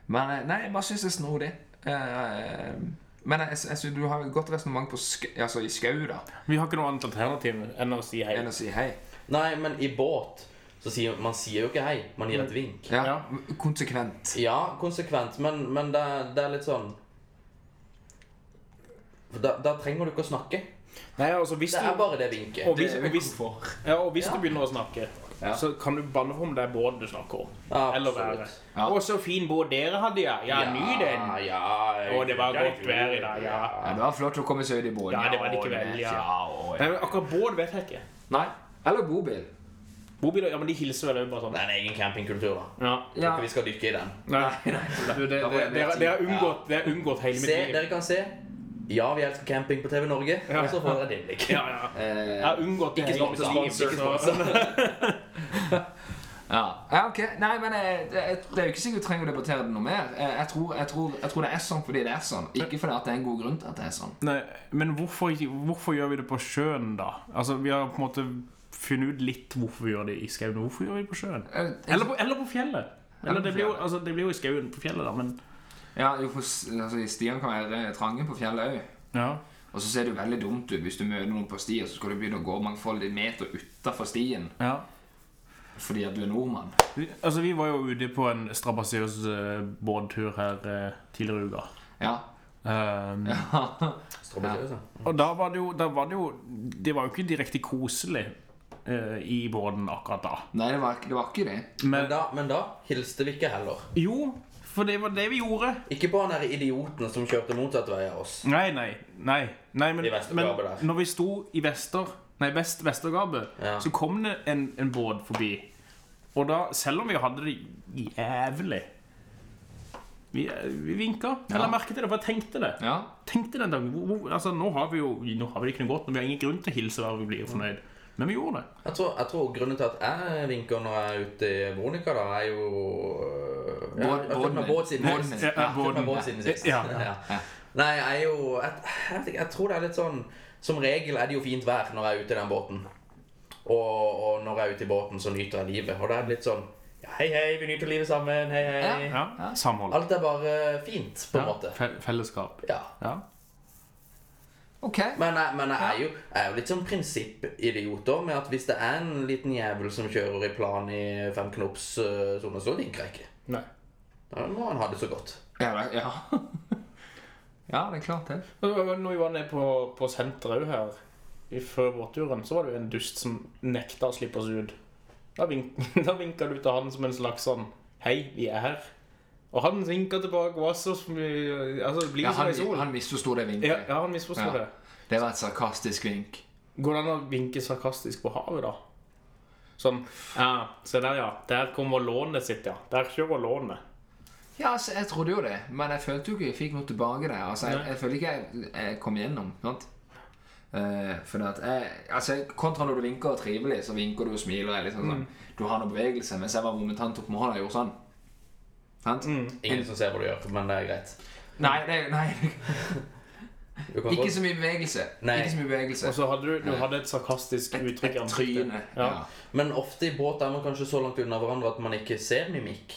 Speaker 3: Men eh, nei, jeg bare syns det er snodig. Eh, Men jeg, jeg, synes du har et godt resonnement på sk altså i skau, da,
Speaker 4: Vi har ikke noe annet alternativ enn å si hei.
Speaker 3: enn å si hei.
Speaker 1: Nei, men i båt så sier man sier jo ikke hei. Man gir
Speaker 4: Mm.
Speaker 1: et vink.
Speaker 3: Ja,
Speaker 4: Ja.
Speaker 3: Konsekvent.
Speaker 1: Ja, konsekvent, men, men det, er- det er litt sånn For da, da trenger du ikke å snakke.
Speaker 4: Nei, altså hvis
Speaker 1: Det
Speaker 4: du...
Speaker 1: er bare det vinket.
Speaker 4: Og hvis, og hvis, ja, og hvis
Speaker 1: Ja.
Speaker 4: du begynner å snakke,
Speaker 3: Ja.
Speaker 4: så kan du banne på om det er båt du snakker om.
Speaker 1: Ja,
Speaker 4: Eller
Speaker 1: absolutt.
Speaker 4: været.
Speaker 3: Ja.
Speaker 4: Å, så fin båt dere hadde, ja. Ja, ny den.
Speaker 1: Ja, ja,
Speaker 4: Å, det var
Speaker 1: ja,
Speaker 4: godt vær i dag, ja.
Speaker 3: Ja, det var flott å komme seg ut i båten.
Speaker 4: Ja, det var likevel, ja.
Speaker 3: og-
Speaker 4: Nei, men akkurat båt vet jeg ikke.
Speaker 3: Nei. Eller bobil.
Speaker 4: Bobiler, ja, men de hilser vel også bare sånn.
Speaker 1: Det er en egen campingkultur, da.
Speaker 4: Ja.
Speaker 1: Tror ikke vi skal dykke i den.
Speaker 4: Nei, Du, det, det, dere, dere har unngått, dere har unngått hele mitt
Speaker 1: Se,
Speaker 4: liv.
Speaker 1: dere kan se. Ja, vi elsker camping på TV Norge. Og så får dere et innblikk.
Speaker 4: Ja, ja.
Speaker 3: Eh,
Speaker 4: Jeg har unngått det
Speaker 1: Ikke
Speaker 4: hele mitt liv.
Speaker 1: sponsor, ikke
Speaker 4: så-
Speaker 3: Ja. ja, ok. Nei, men eh, det, jeg- det er jo ikke sikkert vi trenger å debattere det noe mer. Eh, Jeg tror, jeg, tror, jeg tror det er sånn fordi det er sånn, ikke fordi at det er en god grunn til at det er sånn.
Speaker 4: Nei, men hvorfor, hvorfor gjør vi det på sjøen, da? Altså, Vi har på en måte funnet ut litt hvorfor vi gjør det i skauen. Hvorfor gjør vi det på sjøen?
Speaker 3: Eh,
Speaker 4: Eller på, eller på fjellet.
Speaker 3: Eller
Speaker 4: Eller
Speaker 3: på
Speaker 4: det blir jo,
Speaker 3: fjellet.
Speaker 4: altså, det blir jo i skauen på fjellet, da, men
Speaker 3: Ja, jo, for s- altså, Stian kan være trange på fjellet òg.
Speaker 4: ja.
Speaker 3: Og så ser det jo veldig dumt ut hvis du møter noen på stien, så skal du begynne å gå mangfoldige meter utafor stien
Speaker 4: ja.
Speaker 3: fordi at du er nordmann.
Speaker 4: Vi, altså, vi var jo ute på en strabasiøs uh, båttur her eh, tidligere i uka.
Speaker 3: Ja.
Speaker 4: Ehm,
Speaker 1: Strawberry, altså.
Speaker 4: Og da var det jo, da var det, jo det var jo ikke direkte koselig eh, i båten akkurat da.
Speaker 3: Nei, det var, ikke- det var ikke det.
Speaker 1: Men
Speaker 4: Men
Speaker 1: da, men da hilste vi ikke heller.
Speaker 4: jo, For det var det vi gjorde.
Speaker 1: Ikke på han der idioten som kjørte motsatt vei av oss.
Speaker 4: Nei, nei. Nei, nei men,
Speaker 1: I Vestergabet
Speaker 4: men
Speaker 1: der.
Speaker 4: når vi sto i Vester Nei, Vest Vestergabet,
Speaker 1: Ja.
Speaker 4: så kom det en, en båt forbi. Og da, selv om vi hadde det jævlig Vi, vi vinka. Jeg la
Speaker 3: Ja.
Speaker 4: merke til det, for jeg tenkte det.
Speaker 3: Ja.
Speaker 4: Tenkte den dagen hvor, hvor, altså, Nå har vi jo nå har vi det ikke noe godt, men vi har ingen grunn til å hilse hver vi blir fornøyd. Men vi gjorde det.
Speaker 1: Jeg tror, jeg tror grunnen til at jeg vinker når jeg er ute i Veronica, da, er jo øh, ja,
Speaker 3: Båd-
Speaker 1: Jeg har følt
Speaker 3: båden
Speaker 1: meg
Speaker 3: din.
Speaker 1: båt siden
Speaker 3: Båden
Speaker 1: sist.
Speaker 3: din.
Speaker 1: Jeg har følt meg båt siden sist.
Speaker 4: Ja, ja.
Speaker 3: Ja.
Speaker 1: Nei, jeg er jo jeg, jeg, vet ikke, jeg tror det er litt sånn Som regel er det jo fint vær når jeg er ute i den båten. Og, og når jeg er ute i båten, så nyter jeg livet. Og det er litt sånn ja, Hei, hei, vi nyter livet sammen. Hei, hei.
Speaker 4: Ja. Samhold.
Speaker 1: Alt er bare fint, på en
Speaker 4: Ja.
Speaker 1: måte.
Speaker 4: fe- Fellesskap.
Speaker 1: Ja.
Speaker 4: Ja.
Speaker 3: Ok.
Speaker 1: Men, jeg, men jeg, er jo, jeg er jo litt sånn prinsippidioter med at hvis det er en liten jævel som kjører i plan i fem knops øh, sone, så vinker jeg ikke.
Speaker 4: Nei.
Speaker 1: Da må han ha det så godt.
Speaker 3: Ja, det, ja. ja, det er klart det.
Speaker 4: Når vi var nede på, på senteret òg her, i- før båtturen, så var det jo en dust som nekta å slippe oss ut. Da, vink, da vinka du til han som en slags sånn Hei, vi er her. Og han vinka tilbake og var så som vi Altså, det blir
Speaker 3: Ja,
Speaker 4: som
Speaker 3: han,
Speaker 4: ei sol.
Speaker 3: han misforsto det vinket.
Speaker 4: ja, ja, han misforsto
Speaker 3: Ja.
Speaker 4: det.
Speaker 3: Det var et sarkastisk vink.
Speaker 4: Går det an å vinke sarkastisk på havet, da? Sånn Ja, se der, ja. Der kommer lånet sitt, ja. Der kjører lånet.
Speaker 3: Ja, altså, jeg trodde jo det, men jeg følte jo ikke jeg fikk noe tilbake der. Altså, jeg,
Speaker 4: Nei.
Speaker 3: jeg følte ikke jeg, jeg kom gjennom, sant? Eh, fordi at jeg, altså, kontra når du vinker trivelig, så vinker du og smiler. er Litt sånn, sånn. Du har noe bevegelse, mens jeg var momentant opp med hånda og gjorde sånn. Sant?
Speaker 1: Ingen som ser hva du gjør, men det er greit.
Speaker 3: Nei, det, nei,
Speaker 1: Du kan
Speaker 3: ikke
Speaker 1: godt-
Speaker 3: så mye bevegelse.
Speaker 1: Nei.
Speaker 3: Ikke så mye bevegelse.
Speaker 4: Og så hadde du, du hadde et sarkastisk
Speaker 3: Et,
Speaker 4: uttrykk
Speaker 3: et
Speaker 4: i ansiktet.
Speaker 3: tryne. Ja.
Speaker 4: Ja.
Speaker 1: Men ofte i båt er man kanskje så langt unna hverandre at man ikke ser mimikk.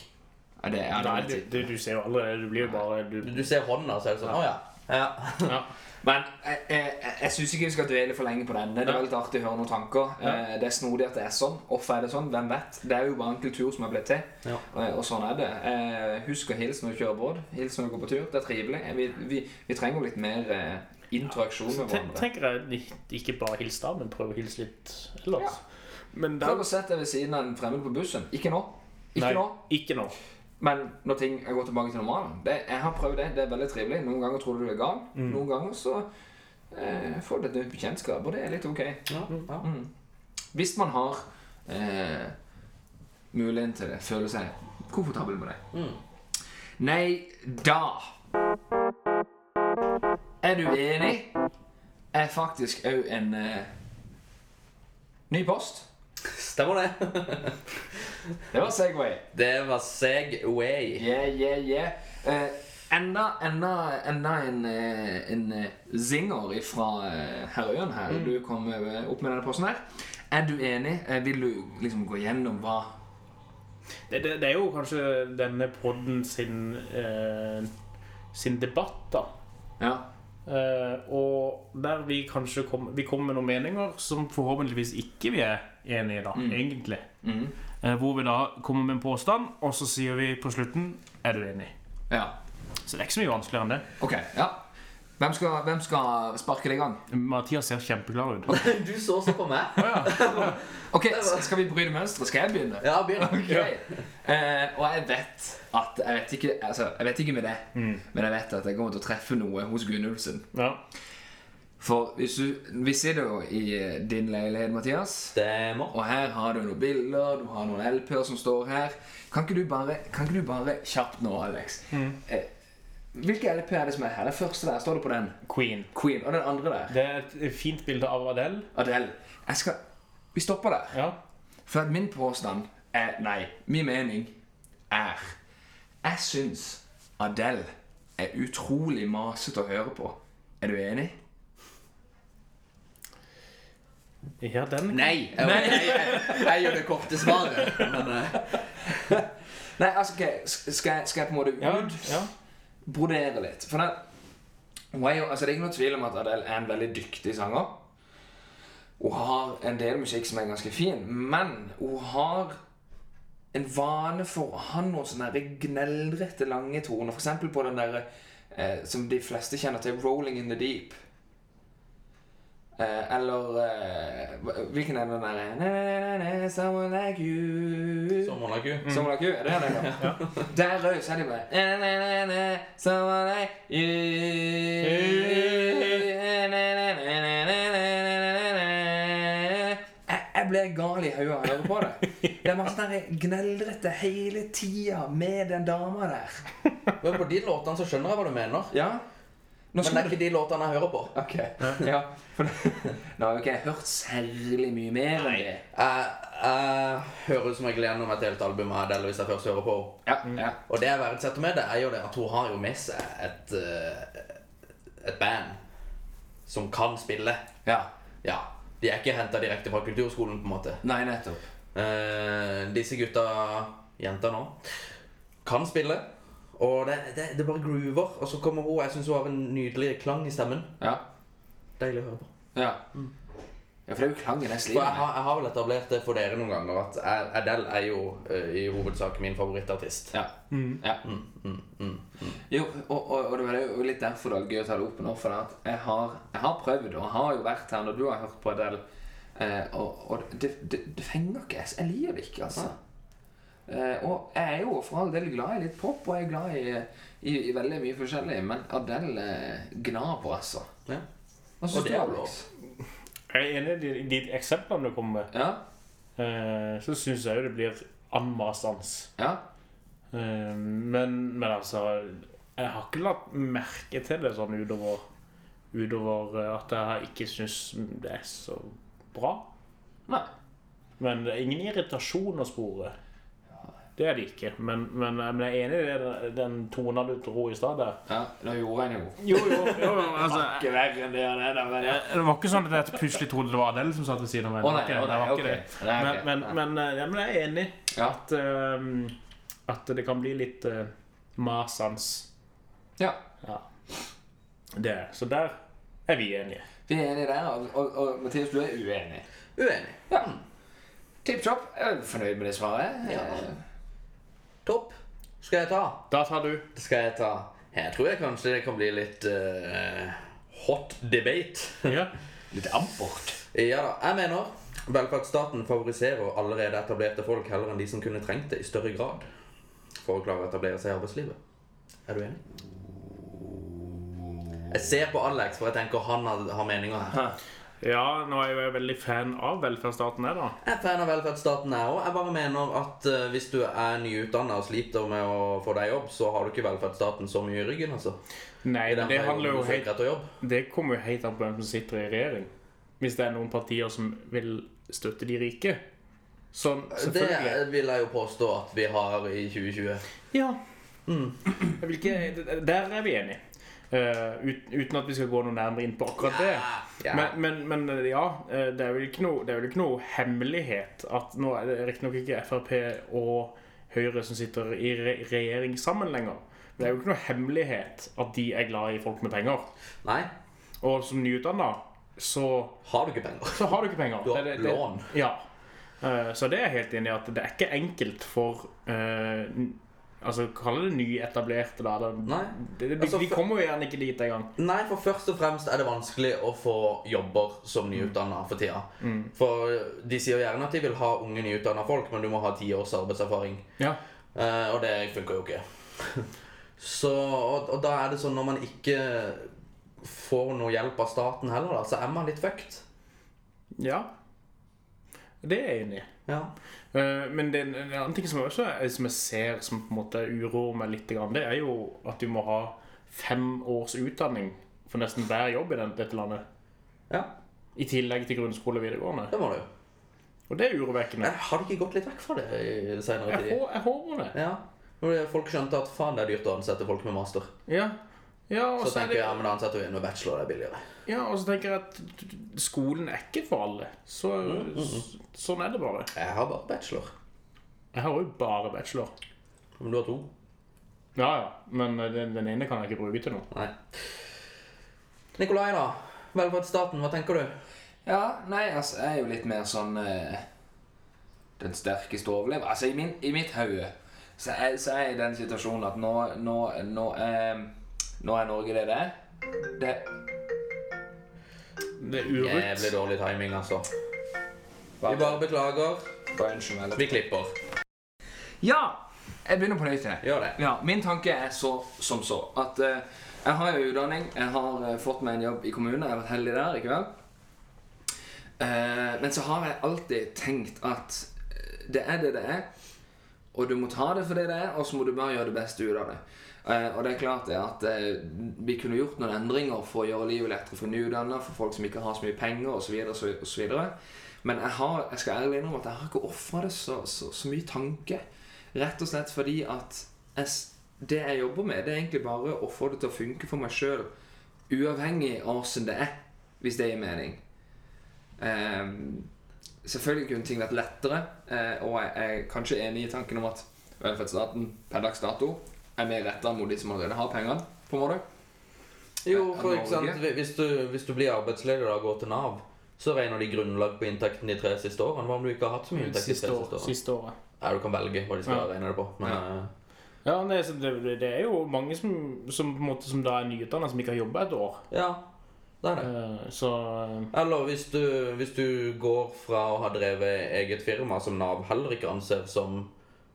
Speaker 3: Ja, det, ja, det,
Speaker 4: Nei,
Speaker 3: er
Speaker 4: du,
Speaker 3: litt-
Speaker 4: du, du ser jo allerede Du blir jo bare du,
Speaker 1: Du ser hånda, så er det sånn Å ja. ja.
Speaker 4: ja.
Speaker 3: Men jeg, jeg, jeg syns ikke vi skal dvele for lenge på denne. Det
Speaker 4: Ja.
Speaker 3: var litt artig å høre noen tanker. Eh, Det er snodig at det er sånn. Hvorfor er det sånn? Hvem vet? Det er jo bare en kultur som har blitt til.
Speaker 1: Ja.
Speaker 3: Eh, Og sånn er det. Eh, Husk å hilse når du kjører båt. Hils når du går på tur. Det er trivelig. Eh, Vi, vi, vi trenger jo litt mer eh, interaksjon med
Speaker 4: Ten-
Speaker 3: hverandre.
Speaker 4: Tenker jeg ikke bare hils da, men prøv å hilse litt ellers. Men
Speaker 3: Prøv
Speaker 4: der,
Speaker 3: å sette deg ved siden av en fremmed på bussen. Ikke nå. Ikke
Speaker 4: nei,
Speaker 3: nå.
Speaker 4: ikke nå.
Speaker 3: Men når ting går tilbake til normalen det, Jeg har prøvd det. Det er veldig trivelig. Noen ganger tror du du er gal.
Speaker 1: Mm.
Speaker 3: Noen ganger så eh, får du et nytt bekjentskap, og det er litt ok. Mm.
Speaker 1: ja. ja.
Speaker 3: Hvis man har eh, muligheten til det, føler seg komfortabel med det.
Speaker 1: Mm.
Speaker 3: Nei, da Er du enig? Er faktisk òg en eh, ny post.
Speaker 1: Stemmer det.
Speaker 3: Det var Segway.
Speaker 1: Det var Segway.
Speaker 3: Yeah, yeah, yeah. Eh, enda, enda, enda en, eh, en eh, zinger fra Herøyen her. Du kom eh, opp med denne posten her. Er du enig? Eh, vil du liksom gå gjennom hva
Speaker 4: Det, det, det er jo kanskje denne podden sin, eh, sin debatt, da.
Speaker 3: Ja.
Speaker 4: Eh, og der vi kanskje kom, vi kom med noen meninger som forhåpentligvis ikke vi er enige i, da,
Speaker 3: Mm.
Speaker 4: egentlig. Eh, hvor vi da kommer med en påstand, og så sier vi på slutten Er du enig?
Speaker 3: Ja.
Speaker 4: Så det er ikke så mye vanskeligere enn det.
Speaker 3: Ok, ja. Hvem skal, hvem skal sparke det i gang?
Speaker 4: Mathias ser kjempeklar ut.
Speaker 1: Du så så på meg.
Speaker 3: Ok, s- Skal vi bryte mønsteret? Skal jeg begynne?
Speaker 1: Ja, begynn.
Speaker 3: Ok. Eh, og jeg vet at Jeg vet ikke, altså, jeg vet ikke med det, men jeg vet at jeg kommer til å treffe noe hos Gunnulfsen.
Speaker 4: Ja.
Speaker 3: For hvis du, vi sitter jo i eh, din leilighet, Mathias.
Speaker 1: Stemmer.
Speaker 3: Og her har du noen bilder, du har noen LP-er som står her. Kan ikke du bare, kan ikke du bare kjapt nå, Alex eh, Hvilke LP er det som er her? Den første der, står det på den?
Speaker 4: Queen.
Speaker 3: Queen. Og den andre der?
Speaker 4: Det er et fint bilde av Adele.
Speaker 3: Adele. Jeg skal Vi stopper der.
Speaker 4: Ja.
Speaker 3: For at min påstand er Nei, min mening er Jeg syns Adele er utrolig masete å høre på. Er du enig?
Speaker 4: ja, den
Speaker 1: Nei. Jeg, jeg, jeg, jeg gjør det korte svaret. Men eh,
Speaker 3: Nei, altså, ok, s- skal, jeg, skal jeg på en måte ut?
Speaker 4: Ja, ja.
Speaker 3: brodere litt. For den, hun er jo, altså det er ikke noe tvil om at Adele er en veldig dyktig sanger. Hun har en del musikk som er ganske fin, men hun har en vane for å ha noen sånne der gneldrete, lange toner. For eksempel på den der eh, som de fleste kjenner til, 'Rolling in the Deep'. Eh, eller eh, hva- Hvilken er den derre na, na, na, na, Someone like you
Speaker 1: Sommerlagu.
Speaker 3: Someone like you, er det den? Mm. ja? Der rød, så er de bare na, na, na, na, Someone like you na, na, na, na, na, na, na, na, na. Jeg, jeg blir gal i hodet av å høre på det. Det er masse der gneldrete hele tida med den dama der.
Speaker 1: Men på de låtene så skjønner jeg hva du mener.
Speaker 3: Ja? Nå
Speaker 1: Men det er ikke de låtene jeg hører på.
Speaker 3: Ok, ja. For nå har jo ikke jeg hørt særlig mye mer enn det.
Speaker 1: Jeg, jeg Eh, hører som regel gjennom et helt album av Adele hvis jeg først hører på.
Speaker 3: Ja, ja.
Speaker 1: Og det jeg verdsetter med det, er jo det at hun har jo med seg et, eh, et band som kan spille.
Speaker 3: ja.
Speaker 1: Ja. De er ikke henta direkte fra kulturskolen, på en måte.
Speaker 3: Nei, nettopp.
Speaker 1: Eh, disse gutta, jenter nå, kan spille. Og det, det, det bare groover. Og så kommer hun. Jeg syns hun har en nydelig klang i stemmen.
Speaker 3: Ja.
Speaker 1: Deilig å høre på.
Speaker 3: Ja, ja for det er jo klangen jeg
Speaker 1: Mm. For
Speaker 3: sliter
Speaker 1: jeg
Speaker 3: med.
Speaker 1: har, jeg har vel etablert det for dere noen ganger at jeg- Adele er jo eh, i hovedsak min favorittartist.
Speaker 3: Ja. ja.
Speaker 1: Mm,
Speaker 3: Jo, og, og, og det var jo litt derfor det var gøy å ta det opp nå. For det at jeg har, jeg har prøvd, og har jo vært her når du har hørt på Adele. Eh, og og det, det, det fenger ikke. Jeg- Jeg liker det ikke, altså. Eh, og jeg er jo for all del glad i litt pop, og jeg er glad i, i, i veldig mye forskjellig. Men Adele eh, gnar på, altså.
Speaker 1: Ja.
Speaker 3: Hva
Speaker 1: Og
Speaker 3: syns
Speaker 1: det
Speaker 3: du,
Speaker 1: er jo
Speaker 3: Alex?
Speaker 4: Jeg er enig i de, de eksemplene du kommer med.
Speaker 3: Ja?
Speaker 4: Eh, så syns jeg jo det blir anmasende.
Speaker 3: Ja?
Speaker 4: Eh, men, men altså Jeg har ikke lagt merke til det sånn utover, utover eh, at jeg ikke syns det er så bra.
Speaker 3: Nei.
Speaker 4: Men det er ingen irritasjon å spore. Det er det ikke. Men, men, eh, men jeg er enig i det, den tona du dro i stad der.
Speaker 3: Ja, da gjorde jeg noe.
Speaker 4: Jo, jo, jo, altså
Speaker 3: Ikke verre enn det han er, da. Men ja.
Speaker 4: Det var ikke sånn at jeg plutselig trodde det var Adele som satt ved siden av meg.
Speaker 3: Å nei,
Speaker 4: Det
Speaker 3: å
Speaker 4: var
Speaker 3: nei,
Speaker 4: ikke
Speaker 3: ok.
Speaker 4: det.
Speaker 3: Nei,
Speaker 4: Men,
Speaker 3: ok.
Speaker 4: men,
Speaker 3: Nei.
Speaker 4: men, eh, ja, men jeg er enig
Speaker 3: Ja.
Speaker 4: at, eh, at det kan bli litt uh, masans.
Speaker 3: ja.
Speaker 4: Det. er- Så der er vi enige.
Speaker 3: Vi er enige der, og, og, og Mathias, du er uenig.
Speaker 1: Uenig.
Speaker 3: Ja. Tipp topp. Jeg er fornøyd med det svaret. Eh,
Speaker 1: Topp. Skal jeg ta?
Speaker 4: Da tar du.
Speaker 1: skal jeg ta Jeg tror jeg kanskje det kan bli litt eh, hot debate.
Speaker 4: Ja.
Speaker 3: Litt ampert.
Speaker 1: ja da, jeg mener velferdsstaten favoriserer allerede etablerte folk heller enn de som kunne trengt det i større grad for å klare å etablere seg i arbeidslivet. Er du enig? Jeg ser på Alex, for jeg tenker han har, har meninger her.
Speaker 4: ja, nå er jo jeg veldig fan av velferdsstaten, jeg, da.
Speaker 1: Jeg er fan av velferdsstaten, jeg òg. Jeg bare mener at eh, hvis du er nyutdanna og sliter med å få deg jobb, så har du ikke velferdsstaten så mye i ryggen, altså.
Speaker 4: Nei,
Speaker 1: I den
Speaker 4: det handler
Speaker 1: perioden
Speaker 4: jo
Speaker 1: du
Speaker 4: helt
Speaker 1: søker etter jobb.
Speaker 4: Det kommer jo helt an på hvem som sitter i regjering. Hvis det er noen partier som vil støtte de rike. Sånn, selvfølgelig.
Speaker 1: Det vil jeg jo påstå at vi har i 2020.
Speaker 4: Ja. Mm. Jeg vil ikke, der er vi enige. Eh, ut, uten at vi skal gå noe nærmere inn på akkurat det.
Speaker 1: Ah, Ja, ja.
Speaker 4: Men, men, men ja, eh, det er vel ikke noe, det er vel ikke noe hemmelighet at nå er det riktignok ikke Frp og Høyre som sitter i re regjering sammen lenger. Men det er jo ikke noe hemmelighet at de er glad i folk med penger.
Speaker 1: Nei,
Speaker 4: Og som nyutdanna så
Speaker 1: har du ikke penger?
Speaker 4: så har du ikke penger.
Speaker 1: Du har
Speaker 4: Det- det- det-
Speaker 1: lån.
Speaker 4: Ja. Eh, Så det er jeg helt enig i at det er ikke enkelt for eh, n- Altså, kall det nyetablerte, da. Det,
Speaker 1: Nei.
Speaker 4: Det, det,
Speaker 1: Altså,
Speaker 4: vi
Speaker 1: for-
Speaker 4: kommer jo gjerne ikke dit engang.
Speaker 1: Nei, for først og fremst er det vanskelig å få jobber som nyutdanna for tida.
Speaker 4: Mm.
Speaker 1: For de sier gjerne at de vil ha unge nyutdanna folk, men du må ha ti års arbeidserfaring.
Speaker 4: Ja.
Speaker 1: Eh, og det funker jo ikke. Så, og, og da er det sånn når man ikke får noe hjelp av staten heller, da, så er man litt fucked.
Speaker 4: ja. Det er jeg enig i.
Speaker 1: Ja.
Speaker 4: Eh, Men det, en annen ting som, også, er- som jeg ser som på en måte uroer meg litt, grann, det er jo at du må ha fem års utdanning for nesten hver jobb i den, dette landet.
Speaker 1: ja,
Speaker 4: I tillegg til grunnskole og videregående.
Speaker 1: det må du.
Speaker 4: Og det er urovekkende.
Speaker 1: Jeg har ikke gått litt vekk fra det i seinere
Speaker 4: Jeg,
Speaker 1: tid.
Speaker 4: hå- jeg håper det.
Speaker 1: Ja. Når det- folk skjønte at faen, det er dyrt å ansette folk med master.
Speaker 4: Ja. ja og
Speaker 1: Så
Speaker 4: så er
Speaker 1: tenker
Speaker 4: det
Speaker 1: jeg ja, men da ansetter vi en med bachelor, det er billigere.
Speaker 4: Ja, og så tenker jeg at skolen er ikke for alle. Så, s- sånn er det bare.
Speaker 1: Jeg har bare bachelor.
Speaker 4: Jeg har jo bare bachelor.
Speaker 1: Men du har to.
Speaker 4: Ja, ja, men eh, den, den ene kan jeg ikke bruke til noe.
Speaker 1: Nei. Nikolai, da. Velferdsstaten, hva tenker du?
Speaker 3: Ja, nei, altså, jeg er jo litt mer sånn eh, Den sterkeste overlever. Altså, i, min, i mitt hode så, er- så er jeg i den situasjonen at nå Nå, nå, eh, nå er Norge det det er. Det
Speaker 4: Det er urutt.
Speaker 1: Jævlig dårlig timing, altså. Vi bare beklager. Vi klipper.
Speaker 3: Ja! Jeg begynner på nytt. jeg.
Speaker 1: Gjør det.
Speaker 3: Ja, min tanke er så som så. At eh, jeg har jo utdanning, jeg har eh, fått meg en jobb i kommunen, jeg har vært heldig der, ikke vel? Eh, men så har jeg alltid tenkt at eh, det er det det er, og du må ta det for det det er, og så må du bare gjøre det beste ut av det. Eh, og det er klart det at eh, vi kunne gjort noen endringer for å gjøre livet lettere for nyutdannede, for folk som ikke har så mye penger, osv. osv. Men jeg, har, jeg skal ærlig innrømme at jeg har ikke ofra det så, så, så mye tanke. Rett og slett fordi at jeg, s- det jeg jobber med, det er egentlig bare å få det til å funke for meg sjøl, uavhengig av åssen det er, hvis det gir mening. Ehm, selvfølgelig kunne ting vært lettere, eh, og jeg er kanskje enig i tanken om at velferdsstaten per dags dato er mer retta mot de som allerede har pengene, på en måte.
Speaker 1: Jo, for
Speaker 3: Norge.
Speaker 1: ikke sant, hvis du, hvis du blir arbeidsledig og da går til Nav, så regner de grunnlag på inntekten de tre siste årene. Hva om du ikke har hatt så mye inntekt de tre
Speaker 4: Siste, år,
Speaker 1: siste årene?
Speaker 4: siste året.
Speaker 1: Ja, du kan velge hva de skal
Speaker 4: Ja.
Speaker 1: regne det på. Men
Speaker 3: Ja.
Speaker 1: eh,
Speaker 4: Ja, nei, så det, det- det er jo mange som, som, på en måte, som da er nyutdannet, som ikke har jobba et år.
Speaker 1: ja, det er det.
Speaker 4: Eh, Så eh,
Speaker 1: Eller hvis du, hvis du går fra å ha drevet eget firma, som Nav heller ikke anser som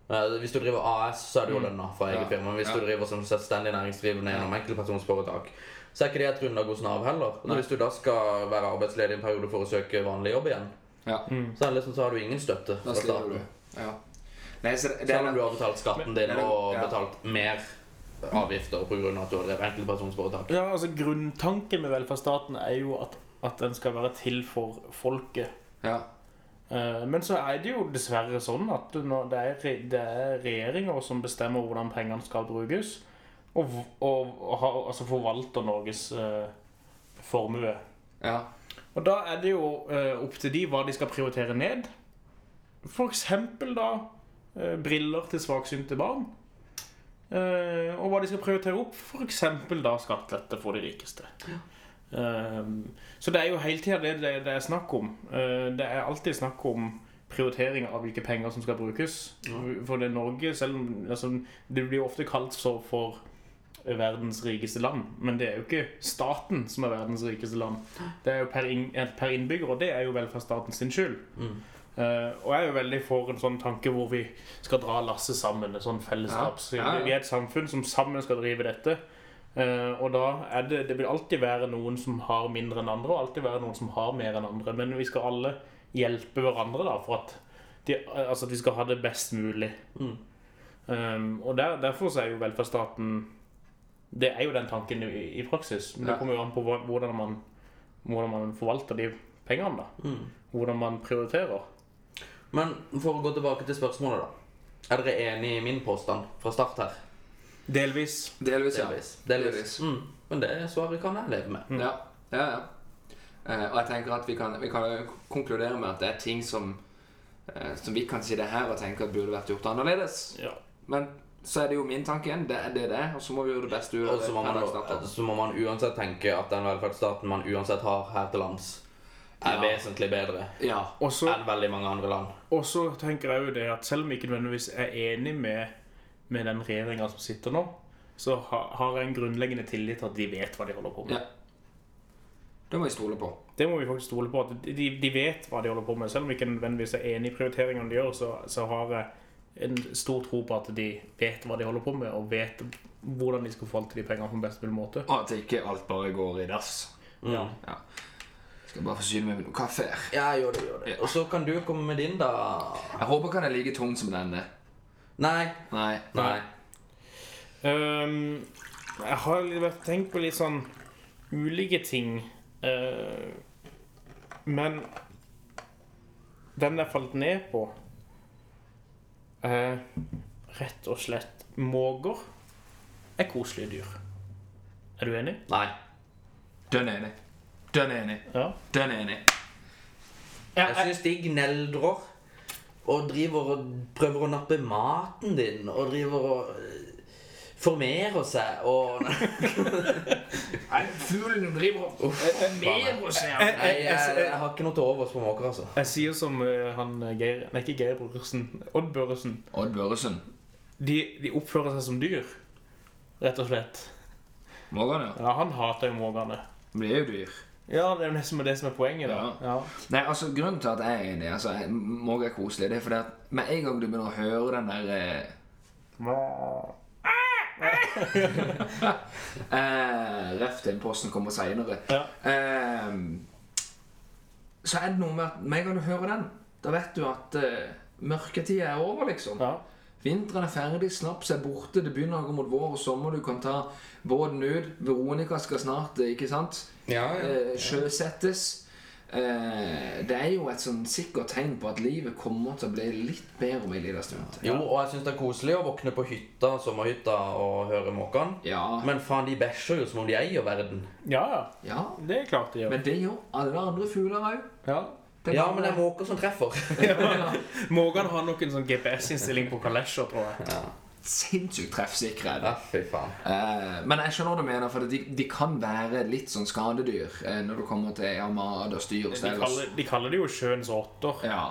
Speaker 1: eh, Hvis du driver AS, så er du jo lønna fra eget
Speaker 3: Mm. Ja.
Speaker 1: firma. Men
Speaker 3: Ja.
Speaker 1: hvis du driver som selvstendig næringsdrivende gjennom enkeltpersonsforetak, så er ikke det et grunnlag hos Nav heller. Og
Speaker 3: Nei.
Speaker 1: hvis du da skal være arbeidsledig en periode for å søke vanlig jobb igjen,
Speaker 3: Ja,
Speaker 1: så, er det liksom, så har du ingen støtte
Speaker 3: da
Speaker 1: fra
Speaker 3: sliter
Speaker 1: staten.
Speaker 3: du. Ja. Nei, så det, det
Speaker 1: Selv om
Speaker 3: er,
Speaker 1: du har betalt skatten din
Speaker 3: Men-
Speaker 1: og
Speaker 3: Ja.
Speaker 1: betalt mer avgifter pga. at du har drevet enkeltpersonsforetak.
Speaker 4: ja, altså, grunntanken med velferdsstaten er jo at, at den skal være til for folket.
Speaker 3: ja.
Speaker 4: Eh, Men så er det jo dessverre sånn at du nå- det er, re- det er regjeringer som bestemmer hvordan pengene skal brukes, og, v- og, og har, altså forvalter Norges eh, formue.
Speaker 3: ja.
Speaker 4: Og da er det jo eh, opp til de hva de skal prioritere ned. For eksempel da eh, briller til svaksynte barn. Eh, og hva de skal prioritere opp. For eksempel da skattelette for de rikeste. Eh, så det er jo hele tida det det, det er snakk om. Eh, det er alltid snakk om prioritering av hvilke penger som skal brukes. For det er Norge, selv om altså, det blir jo ofte kalt så for verdens rikeste land. Men det er jo ikke staten som er verdens rikeste land. Det er jo per, inn, eh, per innbygger, og det er jo velferdsstaten sin skyld.
Speaker 3: Mm.
Speaker 4: Eh, og jeg er jo veldig for en sånn tanke hvor vi skal dra lasset sammen. Et sånn fellesskaps.
Speaker 3: Ja, ja, ja.
Speaker 4: Vi er et samfunn som sammen skal drive dette. Eh, og da er det Det vil alltid være noen som har mindre enn andre, og alltid være noen som har mer enn andre. Men vi skal alle hjelpe hverandre da for at, de, altså at vi skal ha det best mulig. Um, og der, derfor så er jo velferdsstaten Det er jo den tanken i, i praksis. Men
Speaker 3: Ja.
Speaker 4: det kommer jo an på hva- hvordan man, hvordan man forvalter de pengene. da Hvordan man prioriterer.
Speaker 1: Men for å gå tilbake til spørsmålet, da. Er dere enig i min påstand fra start her?
Speaker 4: Delvis.
Speaker 3: Delvis, ja. Mm.
Speaker 1: Delvis. Delvis. Mm. Men det svaret kan jeg leve med.
Speaker 3: Ja, ja, ja. Eh, og jeg tenker at vi kan, vi kan jo konkludere med at det er ting som eh, Som vi kan si det her og tenke at burde vært gjort annerledes.
Speaker 4: Ja.
Speaker 3: Men så er det jo min tanke igjen. Det er det det er. Og så må vi gjøre det beste ut av
Speaker 1: Og
Speaker 3: det.
Speaker 1: så må, man,
Speaker 3: per dags dato.
Speaker 1: så må man uansett tenke at den velferdsstaten man uansett har her til lands, er
Speaker 3: Ja.
Speaker 1: vesentlig bedre
Speaker 3: Ja.
Speaker 4: Og så
Speaker 1: enn veldig mange andre land.
Speaker 4: og så tenker jeg jo det at selv om jeg ikke nødvendigvis er enig med, med den regjeringa som sitter nå, så ha, har jeg en grunnleggende tillit til at de vet hva de holder på med.
Speaker 3: ja. Det må vi stole på.
Speaker 4: Det må vi faktisk stole på. at De, de vet hva de holder på med. Selv om vi ikke nødvendigvis er enig i prioriteringene de gjør, så, så har jeg en stor tro på at de vet hva de holder på med, og vet hvordan de skal forvalte de pengene på en best mulig måte.
Speaker 3: Og at ikke alt bare går i dass.
Speaker 1: Ja.
Speaker 3: Ja. Skal bare forsyne meg med noe kaffe. her.
Speaker 1: Ja, gjør det, gjør det. Og så kan du komme med din, da.
Speaker 3: Jeg håper ikke den er like tung som denne.
Speaker 1: Nei.
Speaker 3: Nei.
Speaker 1: Nei.
Speaker 4: Ehm, jeg har litt vært- tenkt på litt sånn ulike ting. eh, men den jeg falt ned på, er rett og slett måker er koselige dyr. Er du enig?
Speaker 1: Nei.
Speaker 3: Dønn enig. Dønn enig.
Speaker 4: Ja.
Speaker 3: Dønn enig.
Speaker 1: Jeg syns de gneldrer og driver og prøver å nappe maten din og driver og eh, formerer seg og
Speaker 3: Fuglen driver og altså. mer hos
Speaker 1: Nei, jeg, jeg, jeg har ikke noe til overs på måker, altså.
Speaker 4: Jeg sier som eh, han eh, Geir Nei, ikke Geir Børresen. Odd Børresen.
Speaker 3: Odd Børresen.
Speaker 4: De, de oppfører seg som dyr, rett og slett.
Speaker 3: Morgan, ja.
Speaker 4: Ja, Han hater jo måkene.
Speaker 3: Men det er jo dyr.
Speaker 4: Ja, det er jo det som er, det som er poenget, da. Ja.
Speaker 3: Nei, altså Grunnen til at jeg er enig, altså, jeg- Måge er koselig, det er fordi at med en gang du begynner å høre den der eh, eh, Ref til posten kommer seinere.
Speaker 4: Ja.
Speaker 3: Eh, så er det noe med at med en gang du hører den, da vet du at eh, mørketida er over, liksom.
Speaker 4: Ja.
Speaker 3: Vinteren er ferdig, snaps er borte, det begynner å gå mot vår og sommer, du kan ta båten ut. Veronica skal snart, eh, ikke sant?
Speaker 1: Ja, ja.
Speaker 3: eh, sjøsettes. Eh, det er jo et sånn sikkert tegn på at livet kommer til å bli litt bedre om en liten stund.
Speaker 1: Jo, og jeg syns det er koselig å våkne på hytta, sommerhytta og høre måkene.
Speaker 3: Ja,
Speaker 1: Men faen, de bæsjer jo som om de eier verden.
Speaker 4: ja,
Speaker 3: ja.
Speaker 4: det er klart det gjør.
Speaker 3: Men det gjør alle andre fugler òg.
Speaker 4: Ja.
Speaker 1: Ja, men det er måker som treffer.
Speaker 4: Morgan har nok en sånn GPS-innstilling på kalesjer, tror jeg.
Speaker 3: sinnssykt treffsikre. er de.
Speaker 1: Ja, fy faen.
Speaker 3: Eh, men jeg skjønner hva du mener, for de, de kan være litt sånn skadedyr eh, når det kommer til armad og styr og
Speaker 4: De
Speaker 3: stell.
Speaker 4: kaller, de kaller det jo sjøens åtter.
Speaker 3: Ja.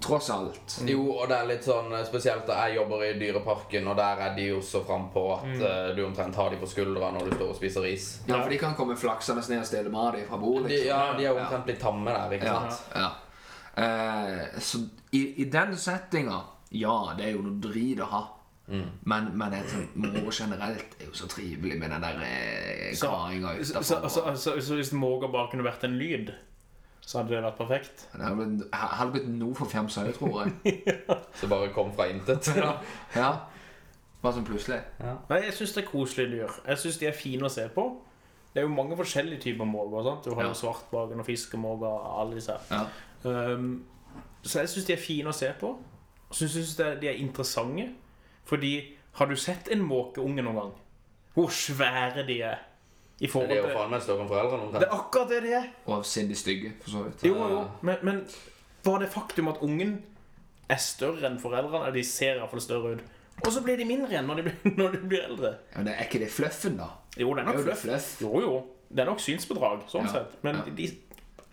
Speaker 3: Tross alt.
Speaker 1: Jo, og det er litt sånn eh, spesielt da jeg jobber i Dyreparken, og der er de jo så frampå at eh, du omtrent har de på skuldra når du står og spiser is.
Speaker 3: Ja, for de kan komme flaksende ned og stjele mat fra bordet.
Speaker 1: De,
Speaker 3: Liksom.
Speaker 1: ja, de er jo omtrent blitt tamme der, ikke
Speaker 3: Ja,
Speaker 1: sant?
Speaker 3: ja. Eh, så i, i den settinga Ja, det er jo noe drit å ha. Men, men jeg tror moro generelt er jo så trivelig med den der eh,
Speaker 4: Så-
Speaker 3: krainga
Speaker 4: Så, så,
Speaker 3: utafor.
Speaker 4: så, så, så altså, hvis Morgan bare kunne vært en lyd, så hadde det vært perfekt.
Speaker 3: Det hadde blitt- hadde blitt noe for fjamsa òg, tror jeg.
Speaker 1: Så bare kom fra intet.
Speaker 3: Ja. Bare sånn plutselig.
Speaker 4: Nei, jeg syns det er koselige dyr. Jeg syns de er fine å se på. Det er jo mange forskjellige typer måger. sant? Du har
Speaker 3: Ja.
Speaker 4: jo svartmagen og fiskemåger og alle disse her.
Speaker 3: Ja.
Speaker 4: Um, så jeg syns de er fine å se på. Så jeg syns de er interessante. Fordi har du sett en måkeunge noen gang? Hvor svære de er. I
Speaker 1: Det
Speaker 4: forhold
Speaker 1: er jo
Speaker 4: til
Speaker 1: faen meg større enn foreldrene
Speaker 4: Det
Speaker 1: omtrent.
Speaker 4: er akkurat det de er.
Speaker 3: Og avsindig stygge, for så vidt.
Speaker 4: Jo, jo. Men, men var det faktum at ungen er større enn foreldrene? eller De ser iallfall større ut. Og så blir de mindre igjen når de blir, når de blir eldre.
Speaker 3: Ja, Men det er ikke det fluffen, da?
Speaker 4: Jo, det
Speaker 3: Det
Speaker 4: er nok
Speaker 3: er jo det
Speaker 4: fluff.
Speaker 3: fluff.
Speaker 4: Jo, jo. Det er nok synsbedrag, sånn
Speaker 3: Ja.
Speaker 4: sett. Men
Speaker 3: Ja.
Speaker 4: de,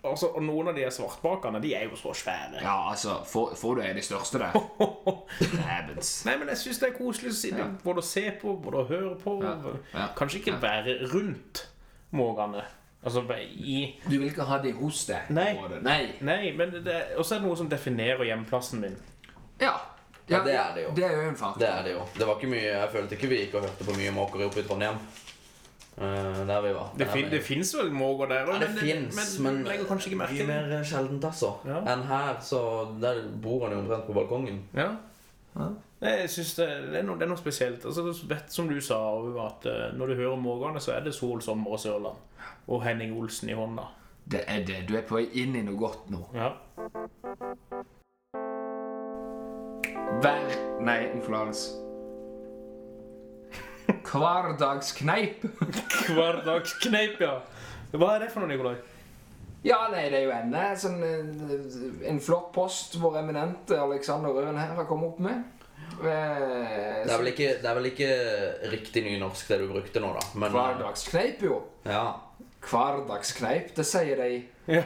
Speaker 4: altså, og noen av de svartbakerne, de er jo så svære.
Speaker 3: Ja, altså, får, får du en av de største der? Dævens.
Speaker 4: Nei, men jeg syns det er koselig å si det. Både å se på, både å høre på.
Speaker 3: Ja.
Speaker 4: Kanskje ikke være rundt måkene. Altså være i
Speaker 3: Du vil ikke ha de hos deg?
Speaker 4: Nei.
Speaker 3: på en måte. Nei.
Speaker 4: Nei, men det er også noe som definerer hjemplassen min.
Speaker 3: Ja.
Speaker 1: Ja, det er det jo.
Speaker 3: Det er jo en faktor.
Speaker 1: Det er det jo. Det var ikke mye, Jeg følte ikke vi gikk og hørte på mye måker oppe i Trondheim. Eh, der vi var.
Speaker 4: Det,
Speaker 1: Der
Speaker 4: fin,
Speaker 1: vi-
Speaker 4: det fins vel måker der
Speaker 1: Ja,
Speaker 4: også,
Speaker 1: det fins,
Speaker 4: men,
Speaker 1: men
Speaker 4: du legger kanskje ikke merke til det.
Speaker 1: mye mer sjeldent, altså.
Speaker 4: Ja.
Speaker 1: Enn her, så der bor han jo omtrent på balkongen.
Speaker 4: Ja. Nei, Jeg synes det, det, er noe, det er noe spesielt. Altså, du vet som du sa, Ove, at eh, når du hører morgenene, så er det sol, sommer og Sørland. Og Henning Olsen i hånda.
Speaker 3: Det er det. Du er på vei inn i noe godt nå.
Speaker 4: Ja.
Speaker 3: Vær Nei, influens. Hverdagskneip.
Speaker 4: Hverdagskneip, ja. Hva er det for noe, Nikolai?
Speaker 3: Ja, nei, det er jo enda en sånn eh, En flott post vår eminente Alexander Røen her har kommet opp med. Eh,
Speaker 1: Det er vel ikke, det er vel ikke riktig nynorsk, det du brukte nå, da. Men
Speaker 3: Hverdagskneip, jo.
Speaker 1: ja.
Speaker 3: Hverdagskneip, det sier de.
Speaker 4: Ja.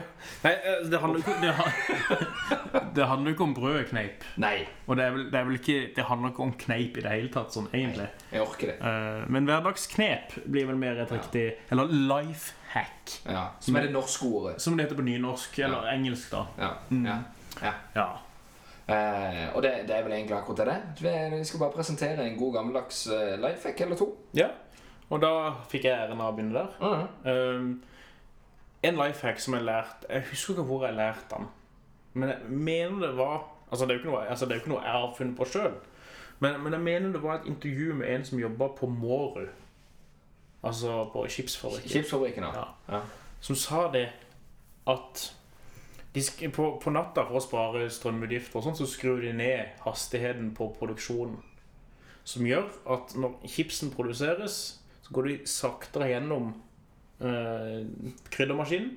Speaker 4: Nei, eh, det handler jo ikke Det han- det handler jo ikke om brødkneip.
Speaker 3: Nei,
Speaker 4: Og det, er vel, det, er vel ikke, det handler ikke om kneip i det hele tatt, sånn egentlig.
Speaker 3: jeg orker det.
Speaker 4: Eh, men hverdagsknep blir vel mer et riktig Eller life hack,
Speaker 3: Ja, Som er det norske ordet.
Speaker 4: som det heter på nynorsk. Eller engelsk, da.
Speaker 3: Ja, ja, ja.
Speaker 4: Ja.
Speaker 3: Eh, og det, det er vel egentlig akkurat det. Vi- Vi skal bare presentere en god gammeldags uh, life hack eller to.
Speaker 4: Ja, og da fikk jeg æren av å begynne der.
Speaker 3: Mhm.
Speaker 4: Ehm, en life hack som jeg lærte Jeg husker ikke hvor jeg lærte den. Men jeg mener det var Altså, det er jo ikke noe, altså, det er jo ikke noe jeg har funnet på sjøl. Men, men jeg mener det var et intervju med en som jobba på Mårud. Altså på skipsfabrikken.
Speaker 3: Chipsfabrikken, da.
Speaker 4: Ja. Som sa det at de sk på, på natta, for å spare strømutgifter, og sånn, så skrur de ned hastigheten på produksjonen. Som gjør at når chipsen produseres, så går de saktere gjennom eh, kryddermaskinen.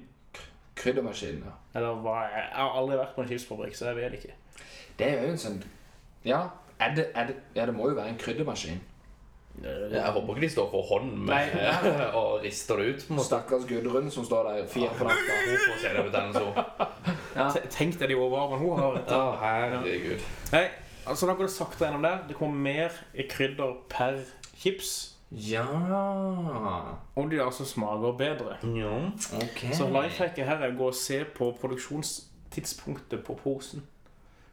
Speaker 3: Kryddermaskinen, ja.
Speaker 4: Eller hva er Jeg har aldri vært på en chipsfabrikk, så jeg vet ikke.
Speaker 3: Det er jo en sånn Ja, er det, er det, ja, det må jo være en kryddermaskin.
Speaker 1: Jeg håper ikke de står for hånd med, og rister det ut. på en måte.
Speaker 3: Stakkars Gudrun som står der fire på natta.
Speaker 1: Hun får CD-betennelse.
Speaker 4: Te- Tenk deg de overarmene hun har.
Speaker 1: Å, herregud.
Speaker 4: Nei, altså da går det saktere gjennom der. Det kommer mer krydder per chips.
Speaker 1: Ja
Speaker 4: Om de da også smaker bedre.
Speaker 1: Ja, ok.
Speaker 4: Så lifehacket her er å gå og se på produksjonstidspunktet på posen.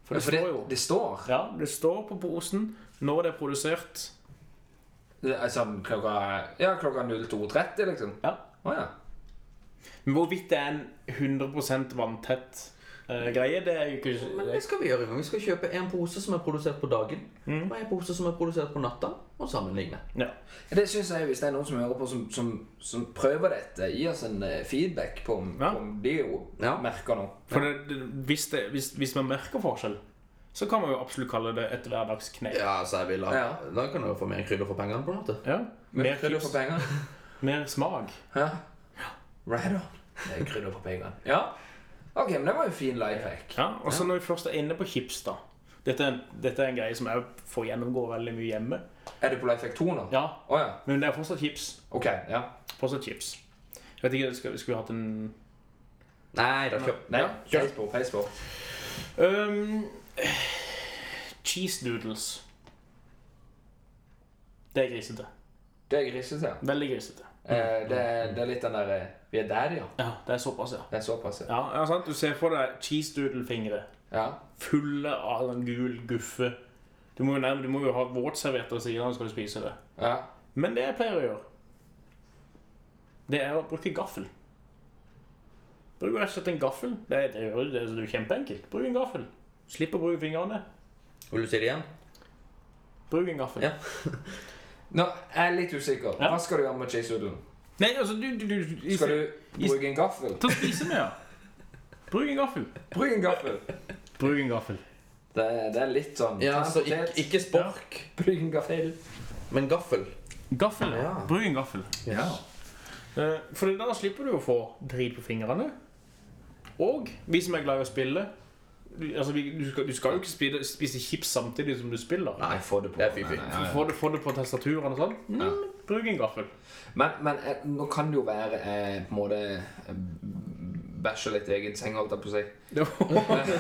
Speaker 4: For
Speaker 3: Ja,
Speaker 4: det
Speaker 3: for det,
Speaker 4: står jo
Speaker 3: det står
Speaker 4: Ja, det står på posen når det er produsert.
Speaker 3: det er sånn klokka, ja, klokka 02.30, liksom.
Speaker 4: Ja.
Speaker 3: Å ja.
Speaker 4: Men hvorvidt det er en 100 vanntett eh, greie, det er jo ikke
Speaker 1: Men det skal vi gjøre en gang. Vi skal kjøpe en pose som er produsert på dagen, og en pose som er produsert på natta, og sammenligne.
Speaker 4: ja.
Speaker 3: Det synes jeg, Hvis det er noen som hører på som, som, som prøver dette, gi oss en eh, feedback på om,
Speaker 4: Ja.
Speaker 3: om de jo
Speaker 1: Ja.
Speaker 3: merker noe.
Speaker 4: For det, det, hvis, det, hvis, hvis man merker forskjell, så kan man jo absolutt kalle det et hverdagsknep.
Speaker 1: Ja, så jeg vil ha
Speaker 3: Ja.
Speaker 1: Da kan du jo få mer krydder for pengene, på en måte.
Speaker 4: Ja. Mer,
Speaker 3: Krydder for
Speaker 4: tips,
Speaker 3: penger.
Speaker 4: mer smak.
Speaker 3: Ja. Right on. Det er krydder for penger. Ja. Ok, men det var jo fin life hack.
Speaker 4: Ja, og så når vi først er inne på chips, da dette er, en, dette er en greie som jeg får gjennomgå veldig mye hjemme.
Speaker 3: Er du på life hack 2 nå?
Speaker 4: Ja,
Speaker 3: Å ja.
Speaker 4: Men det er fortsatt chips.
Speaker 3: Ok. Ja.
Speaker 4: Fortsatt chips. Jeg vet ikke, skal, skulle vi hatt en
Speaker 1: Nei, da kjøp
Speaker 3: Nei,
Speaker 4: Ja.
Speaker 3: peis på. Peis på.
Speaker 4: Øhm, cheese doodles. Det er grisete.
Speaker 3: Det er grisete. ja.
Speaker 4: Veldig grisete.
Speaker 3: Eh, det, er- det er litt den der eh, Vi er der, ja.
Speaker 4: Ja, det er såpass, ja.
Speaker 3: Det er såpass, ja.
Speaker 4: Ja, ja sant? Du ser for deg cheese doodle-fingre
Speaker 3: ja.
Speaker 4: fulle av den gul guffe. Du må jo, nærmere, du må jo ha våtservietter ved siden av skal du spise det.
Speaker 3: ja.
Speaker 4: Men det jeg pleier å gjøre, det er å bruke gaffel. Bruk rett og slett en gaffel. Det er, det er, jo- det er jo kjempeenkelt. Bruk en gaffel. Slipp å bruke fingrene.
Speaker 1: Vil du si det igjen?
Speaker 4: Bruk en gaffel.
Speaker 1: Ja.
Speaker 3: Nå, jeg er litt usikker.
Speaker 4: Ja.
Speaker 3: Hva skal du gjøre med cheesehoodlen?
Speaker 4: Nei, altså, du, du, du, du
Speaker 3: Skal du bruke en gaffel?
Speaker 4: Ta og spise med, ja. Bruk en gaffel.
Speaker 3: Bruk en gaffel!
Speaker 4: Bruk en gaffel.
Speaker 3: Det, det er litt sånn
Speaker 1: Ja,
Speaker 3: Ta en
Speaker 1: så ikke,
Speaker 3: potet,
Speaker 1: ikke spork,
Speaker 3: Bruk en gaffel.
Speaker 1: men gaffel.
Speaker 4: Gaffel, ja.
Speaker 1: Ja.
Speaker 4: Bruk en gaffel.
Speaker 3: Ja.
Speaker 4: Eh, For da slipper du å få drit på fingrene. Og vi som er glad i å spille du- Altså, vi, du, skal, du skal jo ikke spise, spise chips samtidig som du spiller.
Speaker 3: Nei, få det på.
Speaker 1: Det er fy-fy.
Speaker 3: Nei, nei, nei.
Speaker 4: Få det, få det på tastaturene og sånn. Mm, Bruk en gaffel.
Speaker 3: Men, men eh, nå kan det jo være eh, på en måte eh, Bæsje litt i egen seng, holdt jeg på å si.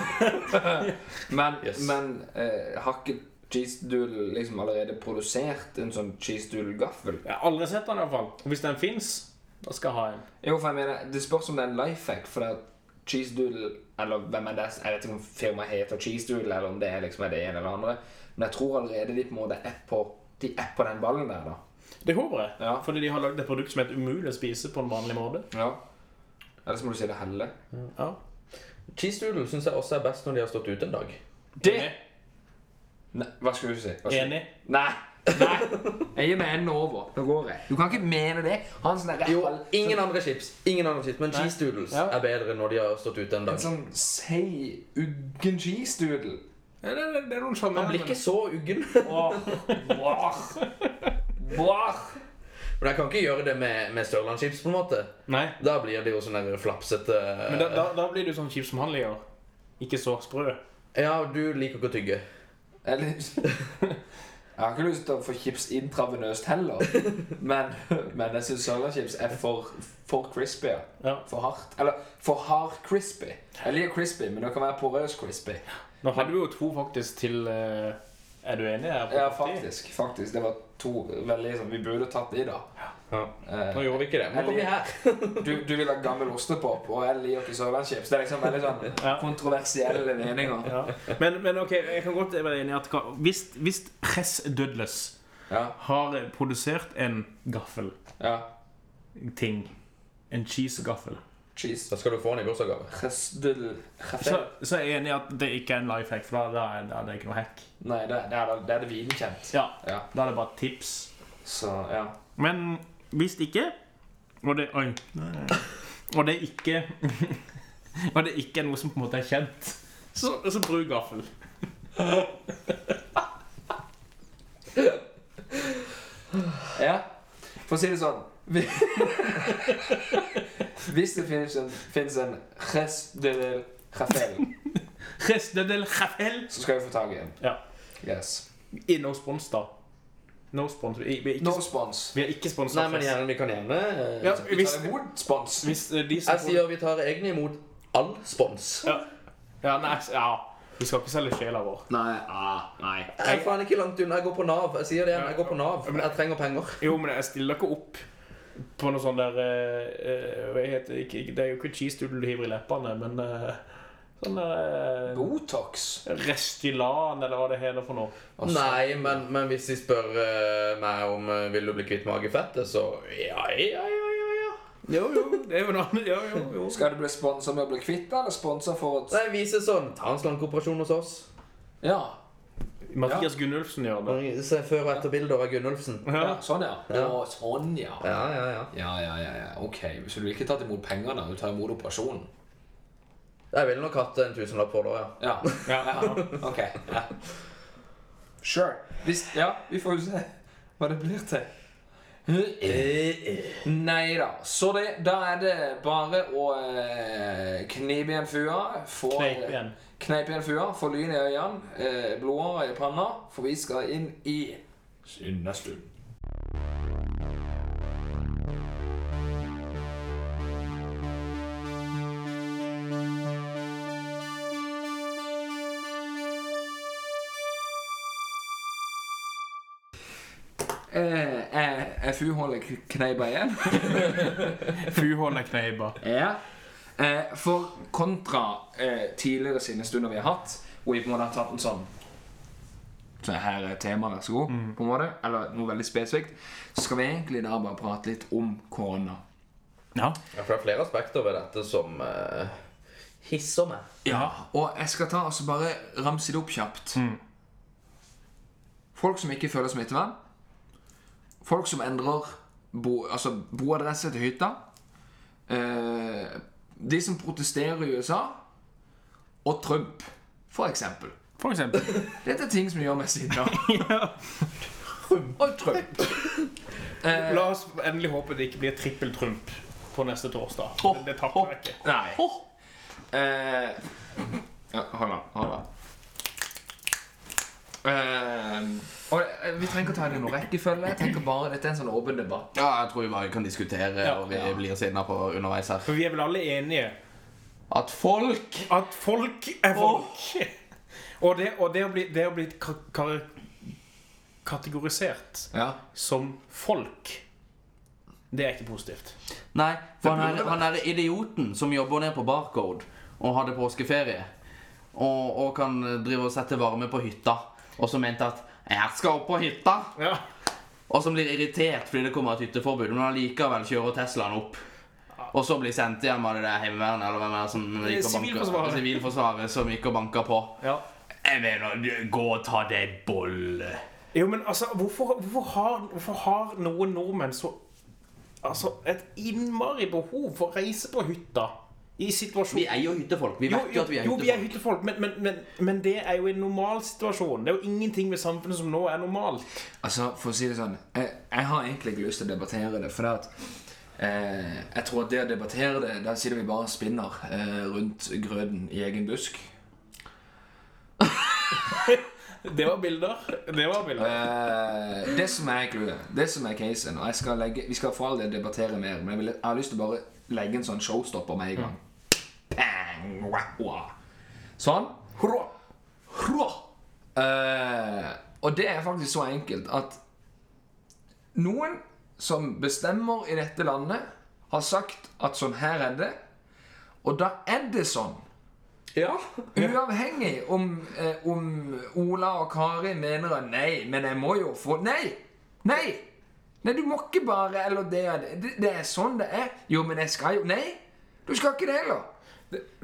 Speaker 3: Men,
Speaker 1: Yes.
Speaker 3: men eh, har ikke cheese doodle liksom allerede produsert en sånn cheese doodle gaffel?
Speaker 4: Jeg har aldri sett den, iallfall. Hvis den fins, da skal jeg ha en.
Speaker 3: Jo, for jeg mener, det spørs om det er en life hack, for det er cheese doodle Eller hvem er det Jeg vet ikke om firmaet heter cheese doodle, eller om det er liksom er det ene eller det andre. Men jeg tror allerede de på en måte er på, de er på den ballen der, da.
Speaker 4: Det håper jeg.
Speaker 3: Ja.
Speaker 4: Fordi de har lagd et produkt som er helt umulig å spise på en vanlig måte.
Speaker 3: Ja. Ellers må du si det helle.
Speaker 4: Ja.
Speaker 1: Cheese doodle syns jeg også er best når de har stått ute en dag.
Speaker 4: Det-
Speaker 3: Nei, hva skulle du si? Hva skulle-
Speaker 4: Enig.
Speaker 3: Nei. Nei. Jeg gir meg enden over. Nå går jeg. Du kan ikke mene det. Han sånn der,
Speaker 1: Jo,
Speaker 3: halv-
Speaker 1: ingen andre chips, ingen andre chips, men cheese doodles
Speaker 4: Ja.
Speaker 1: er bedre når de har stått ute en
Speaker 3: En
Speaker 1: dag.
Speaker 3: sånn seig, uggen cheese-doodle.
Speaker 4: Ja, Det, det, det er noen
Speaker 1: Han blir ikke så uggen. Men jeg kan ikke gjøre det med, med Sørlandschips, på en måte.
Speaker 4: Nei.
Speaker 1: Da blir det jo sånn der flapsete
Speaker 4: Men da, da, da blir du sånn kjip som han ligger. Ikke så sprø.
Speaker 1: eh, Ja, du liker ikke å tygge.
Speaker 3: Eller Jeg har ikke lyst til å få chips intravenøst heller. Men, men jeg syns sørlandschips er for, for crispy. ja.
Speaker 4: Ja.
Speaker 3: For hardt. Eller for hard crispy. Jeg liker crispy, men det kan være porøs crispy.
Speaker 4: Nå hadde vi jo to faktisk til eh, Er du enig? her?
Speaker 3: Ja, faktisk. faktisk. Det var to veldig sånn Vi burde tatt de, da.
Speaker 1: Ja.
Speaker 3: Eh,
Speaker 1: Nå gjorde vi ikke det. Nå kom vi her.
Speaker 3: Du, du vil ha gammel ostepop, og jeg liker ikke sørlandschips. Det er liksom veldig sånn
Speaker 4: Ja.
Speaker 3: kontroversielle meninger.
Speaker 4: Ja. Men, men ok, jeg kan godt være enig i at hva- hvis, hvis Press Dudles
Speaker 3: Ja,
Speaker 4: har produsert en gaffelting,
Speaker 3: ja.
Speaker 4: en cheesegaffel,
Speaker 3: Cheese.
Speaker 1: Da skal du få den i bursdagsgave.
Speaker 3: Resdel.
Speaker 4: så, så er jeg enig i at det ikke er en life hack, for da, da, er, da er det ikke noe hack.
Speaker 3: Nei, det, det, er, det- det er det vinkjent.
Speaker 4: Ja,
Speaker 3: Ja.
Speaker 4: Da er det bare tips.
Speaker 3: Så, ja.
Speaker 4: Men hvis ikke Og det Oi. Og det ikke Og det ikke er noe som på en måte er kjent, så, så bruk gaffel.
Speaker 3: Ja, for å si det sånn vi- Hvis det finnes en, finnes en resdel rafel,
Speaker 4: Resten del gaffel.
Speaker 3: så skal vi få tak i en.
Speaker 4: Ja.
Speaker 3: Yes.
Speaker 4: I no spons, da. No spons. Vi, vi er ikke,
Speaker 3: No spons.
Speaker 4: vi er ikke sponsa.
Speaker 1: Nei, men gjerne, vi kan gjerne eh,
Speaker 4: ja,
Speaker 3: Vi
Speaker 4: hvis,
Speaker 3: tar imot spons.
Speaker 4: hvis eh, de som
Speaker 1: Jeg sier vi tar egne imot all spons.
Speaker 4: ja, nei, s- ja. Vi skal ikke selge sjela vår.
Speaker 3: Nei. Ah, nei.
Speaker 1: Jeg er faen ikke langt unna. Jeg går på Nav. Jeg sier det igjen. Jeg går på Nav. Jeg trenger penger.
Speaker 4: Jo, men jeg stiller ikke opp på noe sånn der eh, eh, Hva heter det? Ikke- Det er jo ikke cheese doodle du hiver i leppene, men eh, sånn der eh,
Speaker 3: Botox.
Speaker 4: Restylan, eller hva det heter for noe.
Speaker 1: Nei, men, men hvis de spør eh, meg om eh, vil du bli kvitt magefettet, så ja, ja, ja, ja, ja.
Speaker 4: Jo, jo, det er jo noe annet. Jo, jo, jo.
Speaker 3: Skal du bli sponsa med å bli kvitt deg, eller sponsa for at
Speaker 1: Nei, vise sånn. Ta en slankeoperasjon hos oss.
Speaker 3: Ja.
Speaker 4: Mathias Gunnulfsen gjør det.
Speaker 1: Se før- og etterbilder av Gunnulfsen.
Speaker 3: ja.
Speaker 4: Ja.
Speaker 3: Sånn, ja.
Speaker 1: Ja.
Speaker 3: Å, sånn, ja.
Speaker 1: Ja, ja, ja.
Speaker 3: Ja, ja, ja, ja. Ok, så du vil ikke tatt imot pengene, du tar imot operasjonen?
Speaker 1: Jeg ville nok hatt en tusenlapp for det òg, ja.
Speaker 3: Ja.
Speaker 4: Ja.
Speaker 3: Ok. Ja. Sure. Hvis, ja, vi får jo se hva det blir til. Nei da. Så det, da er det bare å eh, knipe igjen fua. Få,
Speaker 4: Kneip igjen.
Speaker 3: Kneip igjen fua, få lyn i øynene, eh, blodårer i panna, for vi skal inn i Syndestund. Eh, eh, eh, Fuholdet kn- kneipa igjen.
Speaker 4: Fuhånd er kneiba.
Speaker 3: Ja. Eh, for kontra eh, tidligere sine stunder vi har hatt, hvor vi på en måte har tatt en sånn så her er temaet, vær så god, på en måte, eller noe veldig spesifikt, så skal vi egentlig da bare prate litt om korona.
Speaker 4: Ja.
Speaker 1: Ja, For det er flere aspekter ved dette som eh, hisser meg.
Speaker 3: Ja. Og jeg skal ta og så bare ramse det opp kjapt. Folk som ikke føler smittevern. Folk som endrer bo, altså boadresse til hytta. Eh, de som protesterer i USA. Og Trump, for eksempel.
Speaker 4: For eksempel.
Speaker 3: Dette er ting som gjør meg sinna. Og Trump. Eh,
Speaker 4: La oss endelig håpe det ikke blir trippel Trump på neste torsdag. Men det tapper jeg ikke.
Speaker 3: Nei. Eh, ja, hold da. Hold da. Eh, og, eh, vi trenger ikke å ta det i noen rekkefølge. Jeg tenker bare Dette er en sånn åpen debatt.
Speaker 1: Ja, jeg tror vi bare kan diskutere,
Speaker 4: Ja.
Speaker 1: og vi blir sinna på underveis her.
Speaker 4: For vi er vel alle enige
Speaker 1: At folk
Speaker 4: at folk er folk. Og, det, og det å bli, det å bli ka ka- kategorisert
Speaker 3: Ja.
Speaker 4: som folk, det er ikke positivt.
Speaker 1: Nei, for han
Speaker 3: burde
Speaker 1: er, han er idioten som jobber ned på Barcode og hadde påskeferie. Og, og kan drive og sette varme på hytta. Og som mente at 'jeg skal opp på hytta'.
Speaker 4: Ja.
Speaker 1: Og som blir irritert fordi det kommer et hytteforbud, men allikevel kjører Teslaen opp. Og så blir sendt hjem av det der heimevernet eller hvem er det som gikk og banka
Speaker 4: Sivilforsvaret.
Speaker 1: Sivilforsvaret som gikk og banka på.
Speaker 4: ja.
Speaker 1: Jeg mener, gå og ta deg en bolle.
Speaker 4: Jo, men altså, hvorfor, hvorfor, har, hvorfor har noen nordmenn så Altså, et innmari behov for å reise på hytta i situasjonen
Speaker 1: Vi er jo hyttefolk. Vi
Speaker 4: Jo,
Speaker 1: vet
Speaker 4: jo,
Speaker 1: jo at vi er
Speaker 4: jo, vi er
Speaker 1: hyttefolk.
Speaker 4: hyttefolk, men, men, men, men det er jo en normal situasjon. Det er jo ingenting ved samfunnet som nå er normalt.
Speaker 3: Altså, for å si det sånn Jeg, jeg har egentlig ikke lyst til å debattere det, for det at eh, Jeg tror at det å debattere det, da sitter vi bare og spinner eh, rundt grøten i egen busk.
Speaker 4: Det var bilder. Det var bilder.
Speaker 3: Eh, det som er clouet, det som er casen og jeg skal legge, Vi skal for all del debattere mer, men jeg, vil, jeg har lyst til å bare legge en sånn showstopper med en gang. Bang! Wah, wah. Sånn. Hurra! Hurra! Eh, og det er faktisk så enkelt at noen som bestemmer i dette landet, har sagt at sånn her er det, og da er det sånn.
Speaker 1: Ja.
Speaker 3: Uavhengig om, eh, om Ola og Kari mener at nei, men jeg må jo få Nei! Nei! Nei, Du må ikke bare eller det, er det. det, det er sånn det er. Jo, men jeg skal jo Nei! Du skal ikke det heller.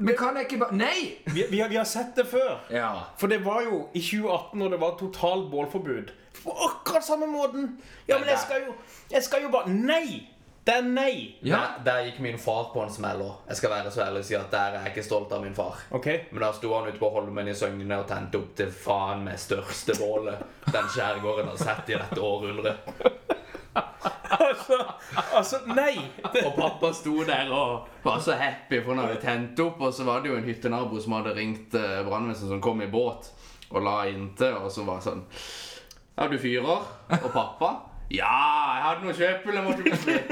Speaker 3: Men kan jeg ikke bare Nei!
Speaker 4: Vi, vi, har, vi har sett det før.
Speaker 3: Ja.
Speaker 4: For det var jo i 2018 når det var totalt bålforbud. På akkurat samme måten. Ja, men jeg skal jo, jeg skal jo bare Nei! Det er nei.
Speaker 3: ja.
Speaker 1: Der, der gikk min far på en smell òg. Jeg skal være så ærlig og si at der er jeg ikke stolt av min far.
Speaker 4: OK.
Speaker 1: Men da sto han ute på Holmen i Søgne og tente opp til faen meg største bålet den skjærgården har sett i dette århundret.
Speaker 4: Altså, altså nei. Det,
Speaker 1: Og pappa sto der og var så happy for han hadde tent opp, og så var det jo en hyttenabo som hadde ringt eh, brannvesenet som kom i båt og la inntil, og så var det sånn Ja, du fyrer? Og pappa? Ja, jeg hadde noe kjøpel jeg måtte bli kvitt.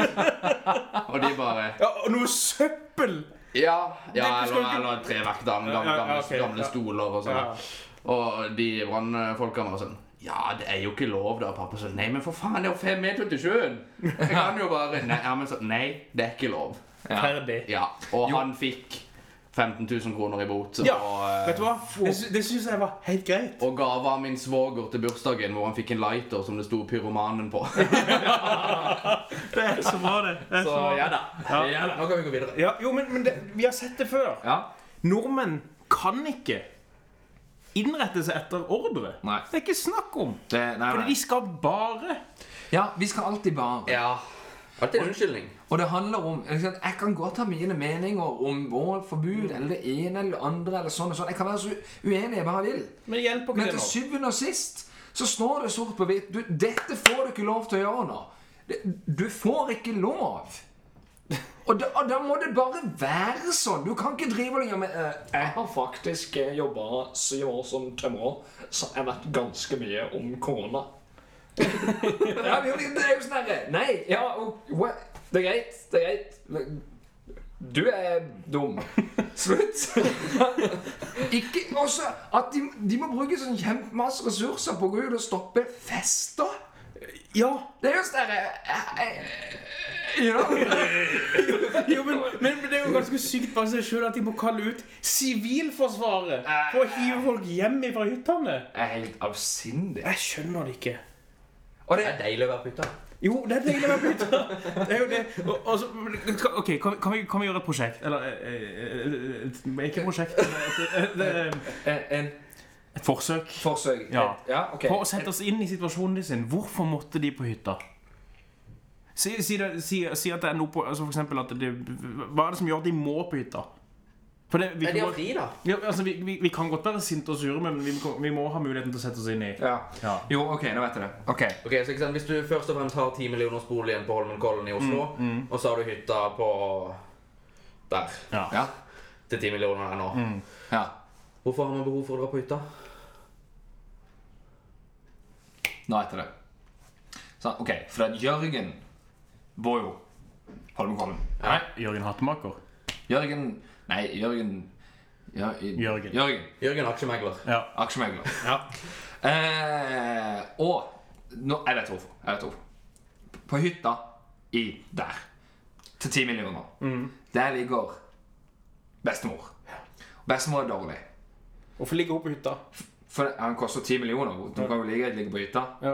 Speaker 1: Og de bare
Speaker 4: ja, og noe søppel!
Speaker 1: Ja, ja
Speaker 4: Nei, du skal
Speaker 1: eller,
Speaker 4: ikke-
Speaker 1: eller treverk, da, med gamle,
Speaker 4: Ja, ja,
Speaker 1: gamle,
Speaker 4: ok, ja.
Speaker 1: gamle stoler og sånn.
Speaker 4: Ja.
Speaker 1: Og de brannfolkene var sånn Ja, det er jo ikke lov, da. Pappa sa nei, men for faen, det er jo fem meter til sjøen. Jeg kan jo bare Nei, ja, men så, nei det er ikke lov.
Speaker 4: Ferdig.
Speaker 1: Ja, Og
Speaker 3: Jo.
Speaker 1: han fikk 15 000 kroner i bot.
Speaker 4: Ja,
Speaker 1: og, eh,
Speaker 4: Vet du hva? Det, sy det syns jeg var helt greit.
Speaker 1: Og gave av min svoger til bursdagen, hvor han fikk en lighter som det sto pyromanen på.
Speaker 4: Det er så bra, det. det er
Speaker 1: Så
Speaker 4: så bra.
Speaker 1: ja da.
Speaker 4: Ja.
Speaker 1: Ja, da. Nå kan vi gå videre.
Speaker 4: Ja, jo, men, men det, vi har sett det før.
Speaker 3: Ja.
Speaker 4: Nordmenn kan ikke innrette seg etter ordre.
Speaker 3: Nei.
Speaker 4: Det er ikke snakk om.
Speaker 3: Det, nei,
Speaker 4: Fordi
Speaker 3: nei.
Speaker 4: de skal bare
Speaker 3: Ja, vi skal alltid bare.
Speaker 1: Ja. Alltid en unnskyldning.
Speaker 3: Og det handler om ikke sant, Jeg kan godt ha mine meninger om vår forbud eller det ene eller det andre eller sånn og sånn. Jeg kan være så uenig jeg bare vil.
Speaker 4: Men det hjelper ikke
Speaker 3: Men
Speaker 4: det
Speaker 3: til
Speaker 4: nå.
Speaker 3: syvende og sist så står det sort på hvitt du, Dette får du ikke lov til å gjøre nå. Det- Du får ikke lov. Og da, og da må det bare være sånn. Du kan ikke drive og gjøre med eh,
Speaker 5: Jeg har faktisk jobba syv år som tømrer, så jeg vet ganske mye om korona.
Speaker 3: ja, men Det er jo sånn herre Nei, ja, og, what? det er greit. Det er greit. Men Du er dum. Slutt. ikke også at de, de må bruke sånn kjempemasse ressurser på å gå ut og stoppe fester.
Speaker 4: Ja,
Speaker 3: Det er jo sånn herre eh, eh, you know?
Speaker 4: jo, men, men det er jo ganske sykt bare seg sjøl at de må kalle ut Sivilforsvaret for å hive folk hjem fra hyttene.
Speaker 3: Det er helt avsindig.
Speaker 4: Jeg skjønner det ikke.
Speaker 3: Og det,
Speaker 1: Det er deilig å være på hytta.
Speaker 4: Jo, det er deilig å være på hytta. Det er jo det. Og, og så, men, skal- ok, kan, vi- kan, vi, kan vi gjøre et prosjekt? Eller eh, eh, eh, Ikke et prosjekt, men et, et, et,
Speaker 3: en, en
Speaker 4: et forsøk.
Speaker 3: forsøk
Speaker 4: Ja.
Speaker 3: ja ok.
Speaker 4: For å sette oss inn i situasjonen de sin. Hvorfor måtte de på hytta? Si, si, det, si, si at det er noe på altså For eksempel at det, Hva er det som gjør at de må på hytta? For det, vi,
Speaker 1: Men de
Speaker 4: kan,
Speaker 1: har fri, da.
Speaker 4: godt- ja, altså, vi, vi, vi kan godt være sinte og sure, men vi, må- vi må ha muligheten til å sette oss inn i
Speaker 3: Ja.
Speaker 4: Ja.
Speaker 3: Jo, ok, nå vet jeg det. Ok.
Speaker 1: Ok, så ikke sant, Hvis du først og fremst har 10 millioners boligen på Holmenkollen i Oslo, og så har du hytta på der
Speaker 3: Ja.
Speaker 1: til 10 millioner her nå
Speaker 3: ja.
Speaker 1: Hvorfor har man behov for å dra på hytta?
Speaker 3: Nå vet jeg det. Sånn, ok, for at Jørgen bor jo Holmenkollen.
Speaker 4: Nei, Jørgen Hattemaker.
Speaker 3: Jørgen Nei, Jørgen ja, i,
Speaker 4: Jørgen.
Speaker 3: Jørgen.
Speaker 1: Jørgen aksjemegler.
Speaker 4: Ja.
Speaker 3: Aksjemegler.
Speaker 4: Ja.
Speaker 3: Eh, og nå, Jeg vet hvorfor. Jeg vet hvorfor. På hytta i der, til 10 millioner,
Speaker 4: Mm.
Speaker 3: der ligger bestemor. Bestemor er dårlig.
Speaker 4: Hvorfor ligge hun på hytta?
Speaker 3: For han koster 10 millioner. Du kan jo like gjerne ligge på hytta.
Speaker 4: Ja.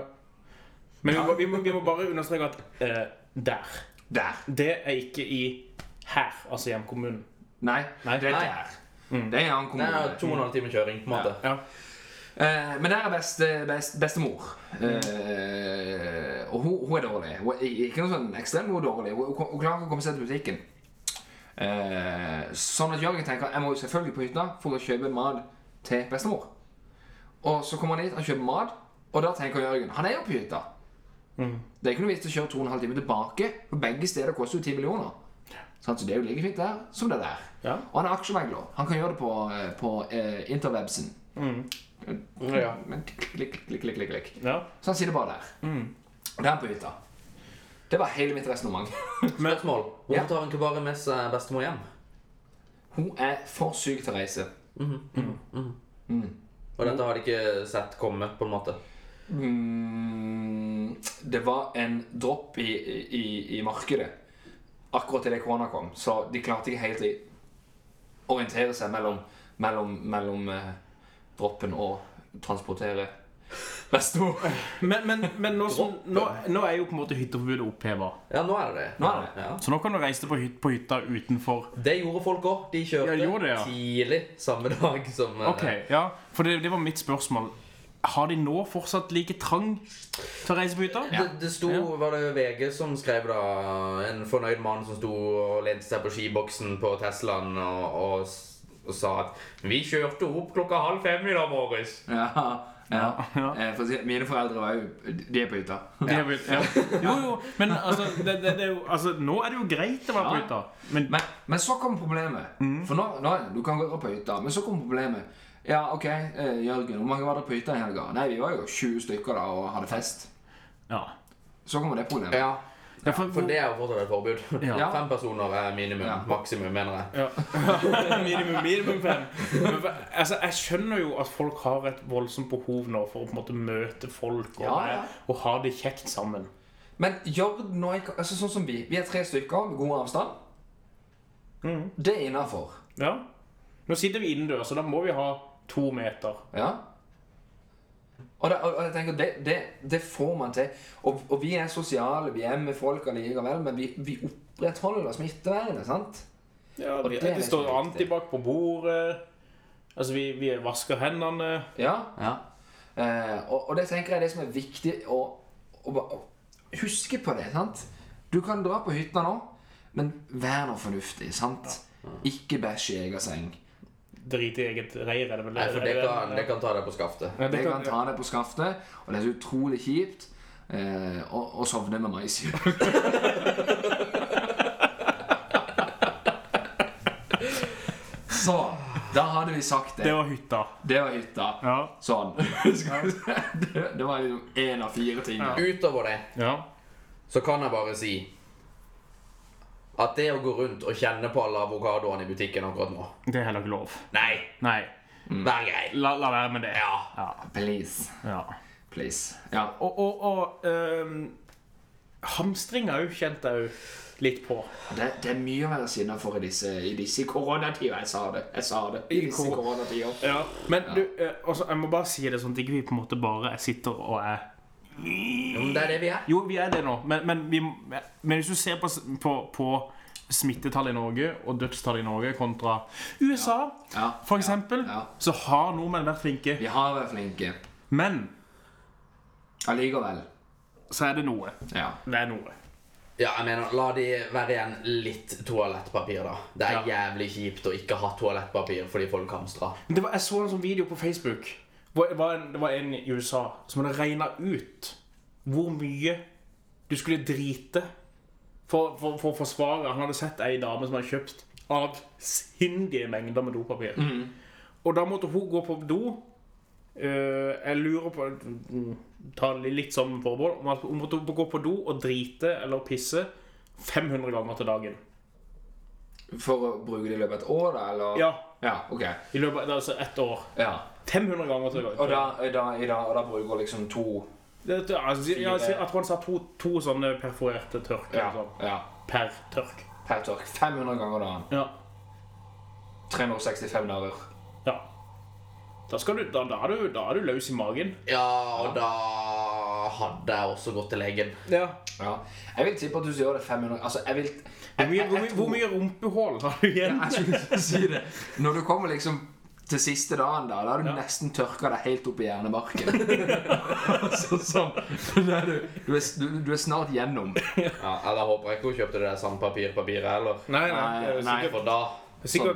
Speaker 4: Men vi må, vi, må, vi må bare understreke at eh, der.
Speaker 3: Der.
Speaker 4: Det er ikke i her, altså hjemkommunen.
Speaker 3: Nei,
Speaker 4: Nei. Mm.
Speaker 3: det er
Speaker 4: Nei.
Speaker 3: der. Det er en annen
Speaker 1: Det
Speaker 3: kommune.
Speaker 1: er to og en halv time kjøring. på en måte.
Speaker 4: Ja.
Speaker 3: Eh, men der er beste, best, bestemor.
Speaker 4: Mm.
Speaker 3: Eh, og hun, hun er dårlig. Hun er ikke noe sånn ekstremt hun er dårlig. Hun, hun, hun klarer ikke å komme seg til butikken. Eh, sånn at Jørgen tenker jeg må jo selvfølgelig på hytta for å kjøpe mat til bestemor. Og så kommer han dit og kjøper mat, og da tenker Jørgen han er jo på hytta.
Speaker 4: Mm.
Speaker 3: Det er ikke noe vits å kjøre 2 12 timer tilbake, for begge steder koster jo 10 millioner. Sant, så det er jo like fint der som det der.
Speaker 4: Ja.
Speaker 3: Og han er aksjemegler. Han kan gjøre det på, eh, på eh, interwebsen.
Speaker 4: Mm.
Speaker 3: Eh,
Speaker 4: Ja.
Speaker 3: Men klikk, klikk, klikk, klikk, klikk.
Speaker 4: ja.
Speaker 3: Så han sier det bare der.
Speaker 4: Mm.
Speaker 3: Og der på hytta. Det var hele mitt resonnement.
Speaker 1: Spørsmål. Hvorfor
Speaker 3: Ja.
Speaker 1: tar han ikke bare med seg bestemor hjem?
Speaker 3: Hun er for syk til å reise.
Speaker 1: Og dette har de ikke sett komme. på en måte.
Speaker 3: Mm, det var en dropp i, i, i markedet akkurat til det korona kom, så de klarte ikke helt å orientere seg mellom, mellom, mellom eh, droppen og transportere bestemor.
Speaker 4: Men, men, men nå, som, nå, nå er jo på en måte hytteforbudet oppheva.
Speaker 1: Ja, nå er det det.
Speaker 3: Nå er det.
Speaker 1: Ja.
Speaker 4: Så nå kan du reise deg på, hyt, på hytta utenfor
Speaker 1: Det gjorde folk òg. De kjørte
Speaker 4: Ja, de gjorde det, ja.
Speaker 1: tidlig samme dag som eh,
Speaker 4: Ok, ja, For det, det var mitt spørsmål. Har de nå fortsatt like trang til å reise på hytta?
Speaker 1: Det, det sto, var det VG som skrev da En fornøyd mann som sto og lente seg på skiboksen på Teslaen og, og, s- og sa at Vi kjørte opp klokka halv fem i dag morges.
Speaker 3: Ja, ja.
Speaker 4: Ja.
Speaker 3: Eh, For å si, mine foreldre var jo De er på hytta.
Speaker 4: Det er vel- ja. Jo, jo, men altså, det, det, det er jo, altså Nå er det jo greit å være på
Speaker 3: Ja.
Speaker 4: hytta. Men
Speaker 3: Men, men så kom problemet. For nå, nå du kan gå på hytta, men så kom problemet. Ja, OK, eh, Jørgen, hvor mange var dere på hytta i helga? Nei, vi var jo 20 stykker da og hadde fest.
Speaker 4: ja.
Speaker 3: Så kommer det problemet.
Speaker 1: Ja.
Speaker 4: Ja, for,
Speaker 1: For det er jo fortsatt et forbud.
Speaker 3: Ja.
Speaker 1: Fem personer er minimum.
Speaker 3: Ja.
Speaker 1: Maksimum, mener jeg.
Speaker 4: Ja. minimum, minimum fem. Men, for- altså, jeg skjønner jo at folk har et voldsomt behov nå for å på en måte møte folk og,
Speaker 3: Ja, ja.
Speaker 4: og ha det kjekt sammen.
Speaker 3: Men gjør det nå ikke altså, Sånn som vi. Vi er tre stykker med god avstand. Det er innafor.
Speaker 4: Ja. Nå sitter vi innendørs, så da må vi ha to meter.
Speaker 3: Ja. Og, det, og og jeg tenker, det, det, det får man til. Og, og vi er sosiale, vi er med folk allikevel, men vi, vi opprettholder smittevernet, sant?
Speaker 4: Ja,
Speaker 3: Og
Speaker 4: det,
Speaker 3: det er
Speaker 4: det står
Speaker 3: liksom viktig.
Speaker 4: antibac på bordet. Altså, vi, vi vasker hendene.
Speaker 3: Ja.
Speaker 1: Ja.
Speaker 3: Eh, og, og det tenker jeg er det som er viktig å, å, ba- å huske på det, sant? Du kan dra på hytta nå, men vær nå fornuftig, sant? Ikke bæsj i egen seng.
Speaker 4: Drit i eget reir, er det vel?
Speaker 1: Nei, for det
Speaker 4: er
Speaker 1: kan, det
Speaker 4: det-
Speaker 1: kan ta deg på skaftet.
Speaker 4: Ja,
Speaker 3: Det
Speaker 4: det
Speaker 3: kan ta deg på skaftet, og det er så utrolig kjipt eh, å, å sovne med mais i øyet. Så, da hadde vi sagt
Speaker 4: Det
Speaker 3: det.
Speaker 4: var hytta.
Speaker 3: Det var hytta.
Speaker 4: Ja.
Speaker 3: Sånn. Skal vi se. Det det var liksom én av fire ting.
Speaker 4: Ja.
Speaker 1: Utover det
Speaker 4: ja.
Speaker 1: så kan jeg bare si at det å gå rundt og kjenne på alle avokadoene i butikken akkurat nå
Speaker 4: Det er heller ikke lov.
Speaker 1: Nei,
Speaker 4: Nei.
Speaker 3: Mm.
Speaker 1: vær grei.
Speaker 4: La, la være med det.
Speaker 1: Ja.
Speaker 4: Ja.
Speaker 3: Please.
Speaker 4: ja.
Speaker 3: Please. Ja.
Speaker 4: Og, og, og ehm, hamstring har jeg jo kjent jeg jo litt på.
Speaker 3: Det, det er mye å være sinna for i disse, i disse koronatider. Jeg sa det. Jeg sa det. I
Speaker 4: I
Speaker 3: disse
Speaker 4: kor-
Speaker 3: koronatider.
Speaker 4: Men du, eh, altså, jeg må bare si det sånn at ikke vi på en måte bare sitter og er
Speaker 1: Jo, men Mm. Det er det vi er.
Speaker 4: Jo, vi er det nå, men, men, vi, men hvis du ser på, på, på smittetallet i Norge og dødstallet i Norge kontra USA,
Speaker 3: Ja.
Speaker 4: for eksempel,
Speaker 3: Ja.
Speaker 4: så har nordmenn vært flinke.
Speaker 3: Vi har vært flinke.
Speaker 4: Men
Speaker 3: Allikevel.
Speaker 4: så er det noe.
Speaker 3: Ja.
Speaker 4: Det er noe.
Speaker 1: Ja, jeg mener, La de være igjen litt toalettpapir, da. Det er jævlig kjipt å ikke ha toalettpapir fordi folk hamstrer.
Speaker 4: Men Det var, jeg så en sånn video på Facebook. Hvor det, var en, det var en i USA som hadde regna ut hvor mye du skulle drite for, for, for å forsvare. Han hadde sett ei dame som hadde kjøpt avsindige mengder med dopapir.
Speaker 3: Mhm.
Speaker 4: Og da måtte hun gå på do. Eh, jeg lurer på mm, Ta det litt som forbehold. om at Hun måtte gå på do og drite eller pisse 500 ganger til dagen.
Speaker 3: For å bruke det i løpet av et år, da? Eller?
Speaker 4: Ja,
Speaker 3: ja. Ok.
Speaker 4: i løpet av altså ett år.
Speaker 3: Ja.
Speaker 4: 500 ganger til dagen.
Speaker 3: Og da, i dag- i dag- og da bruker jeg liksom to
Speaker 4: Det, det, altså, jeg, jeg, jeg tror han sa to, to sånne perforerte tørk
Speaker 3: ja,
Speaker 4: eller sånn,
Speaker 3: ja,
Speaker 4: per tørk.
Speaker 3: per tørk. 500 ganger dagen.
Speaker 4: Ja.
Speaker 3: 365 dager.
Speaker 4: ja. Da, skal du, da, da, er du, da er du løs i magen.
Speaker 1: Ja, og da hadde jeg også gått til legen.
Speaker 4: Ja.
Speaker 3: Ja. Jeg vil tippe at du gjør det 500 Altså, jeg vil
Speaker 4: Hvor mye, hvor,
Speaker 3: jeg- jeg
Speaker 4: mye- hvor mye rumpehull har du igjen?
Speaker 3: Jeg skulle ikke si det. Når du kommer liksom til siste dagen, da, da har du nesten tørka deg helt opp i hjernebarken. altså, sånn. Da er du, du, er, du, du er snart gjennom.
Speaker 1: Ja, Eller håper jeg ikke hun kjøpte det der sandpapirpapiret heller.
Speaker 4: Nei, nei.
Speaker 3: Nei,
Speaker 4: det er
Speaker 3: nei.
Speaker 4: Sikkert,
Speaker 1: For da
Speaker 4: Sikkert-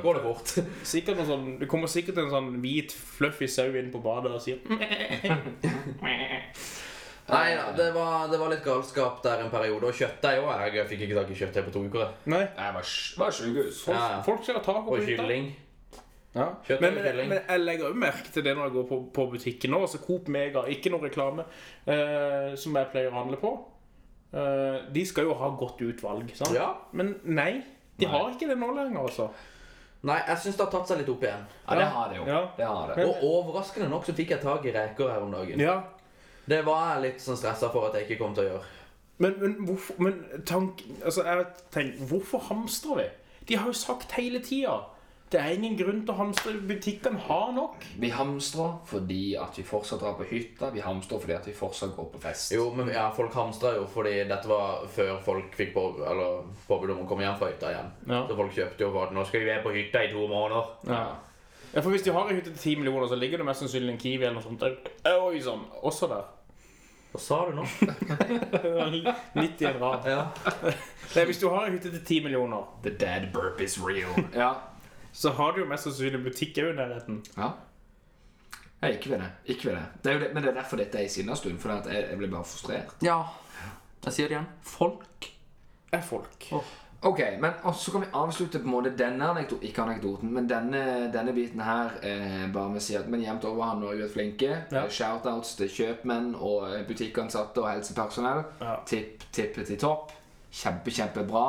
Speaker 1: sånn går det fort.
Speaker 4: sikkert noe sånn, det kommer sikkert en sånn hvit, fluffy sau inn på badet og sier mm.
Speaker 1: Nei, ja, det var, det var litt galskap der en periode. Og kjøttdeig òg. Jeg fikk ikke tak i kjøttdeig på to uker. jeg.
Speaker 4: Nei.
Speaker 3: Jeg var, sj- var sjukehus.
Speaker 4: Folk,
Speaker 1: Ja, ja.
Speaker 4: folk skjærer taco på
Speaker 1: Og
Speaker 4: hytta.
Speaker 1: kylling.
Speaker 4: Ja.
Speaker 1: Kjøtt
Speaker 4: Men,
Speaker 1: og kylling.
Speaker 4: men jeg legger jo merke til det når jeg går på, på butikken nå. Altså Coop Mega, ikke noe reklame, eh, som jeg pleier å handle på. Eh, de skal jo ha godt utvalg, sant?
Speaker 1: Ja.
Speaker 4: Men nei, de har ikke det nå lenger, altså.
Speaker 1: Nei, jeg syns det har tatt seg litt opp igjen.
Speaker 3: Ja, det har det jo.
Speaker 4: Ja.
Speaker 3: Det har det.
Speaker 1: Og overraskende nok så fikk jeg tak i reker her om dagen.
Speaker 4: Ja.
Speaker 1: Det var jeg litt sånn stressa for at jeg ikke kom til å gjøre.
Speaker 4: Men, men hvorfor men tank, altså jeg tenker, Hvorfor hamstrer vi? De har jo sagt hele tida det er ingen grunn til å hamstre. Butikkene har nok.
Speaker 3: Vi hamstrer fordi at vi fortsatt drar på hytta. Vi hamstrer fordi at vi fortsatt går på fest.
Speaker 1: Jo, men ja, folk hamstra jo fordi dette var før folk fikk på, eller, påbud om å komme hjem fra hytta igjen.
Speaker 4: Ja.
Speaker 1: Så folk kjøpte jo for at nå skal vi være på hytta i to måneder.
Speaker 4: Ja. ja, for Hvis de har en hytte til 10 millioner, så ligger det mest sannsynlig en Kiwi eller noe sånt der. Oi sånn, også der.
Speaker 1: Hva sa du nå?
Speaker 4: 90 er bra.
Speaker 1: Ja.
Speaker 4: Nei, hvis du har en hytte til 10 millioner,
Speaker 3: The dead burp is real. Ja.
Speaker 4: så har du jo mest sannsynlig en butikk òg i nærheten.
Speaker 3: ja. Jeg ikke ved det. Ikke ved det. det, er jo det. Men det er derfor dette er i sinna stund. For jeg, jeg blir bare frustrert.
Speaker 1: ja. Jeg sier det igjen. Folk.
Speaker 4: Er folk.
Speaker 3: Ok, men og så kan vi avslutte på en måte denne anekdoten, ikke anekdoten, men denne, denne biten her eh, bare med å si at men jevnt over har Norge vært flinke.
Speaker 4: Ja.
Speaker 3: Eh, Shoutouts til kjøpmenn og eh, butikkansatte og helsepersonell.
Speaker 4: Ja.
Speaker 3: Tipp, tippet til topp. Kjempe, kjempebra.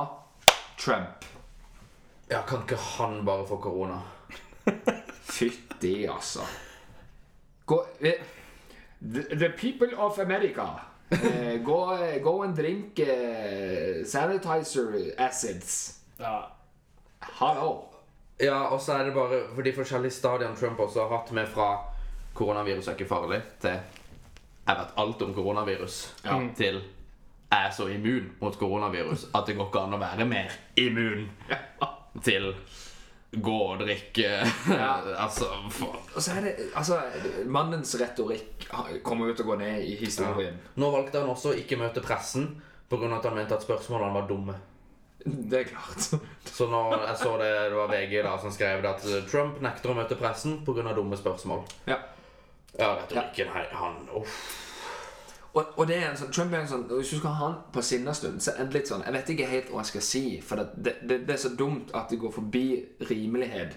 Speaker 3: Trump.
Speaker 1: Ja, kan ikke han bare få korona?
Speaker 3: Fytti, altså. Gå, eh, the, the people of America. Eh, gå, gå and drink eh, sanitizer acids.
Speaker 4: Ja.
Speaker 3: Hallo.
Speaker 1: Ja, og så er det bare for de forskjellige stadiene Trump også har hatt med fra koronavirus er ikke farlig til jeg vet alt om koronavirus Mm. til jeg er så immun mot koronavirus at det går ikke an å være mer immun til gå og drikke Altså, faen.
Speaker 3: Og så er det, altså, Mannens retorikk har- kommer jo til å gå ned i historien.
Speaker 1: Nå valgte han også å ikke møte pressen pga. at han mente at spørsmålene var dumme.
Speaker 3: Det er klart.
Speaker 1: Så nå, jeg så det, det var VG da som skrev det at eh, Trump nekter å møte pressen pga. dumme spørsmål.
Speaker 3: Ja.
Speaker 1: Ja, retorikken her, han Uff.
Speaker 3: Og, og det er en sånn, Trump er en sånn Hvis du skal ha han på sinnestund, så er det litt sånn Jeg vet ikke helt hva jeg skal si, for det, det, det, det er så dumt at det går forbi rimelighet.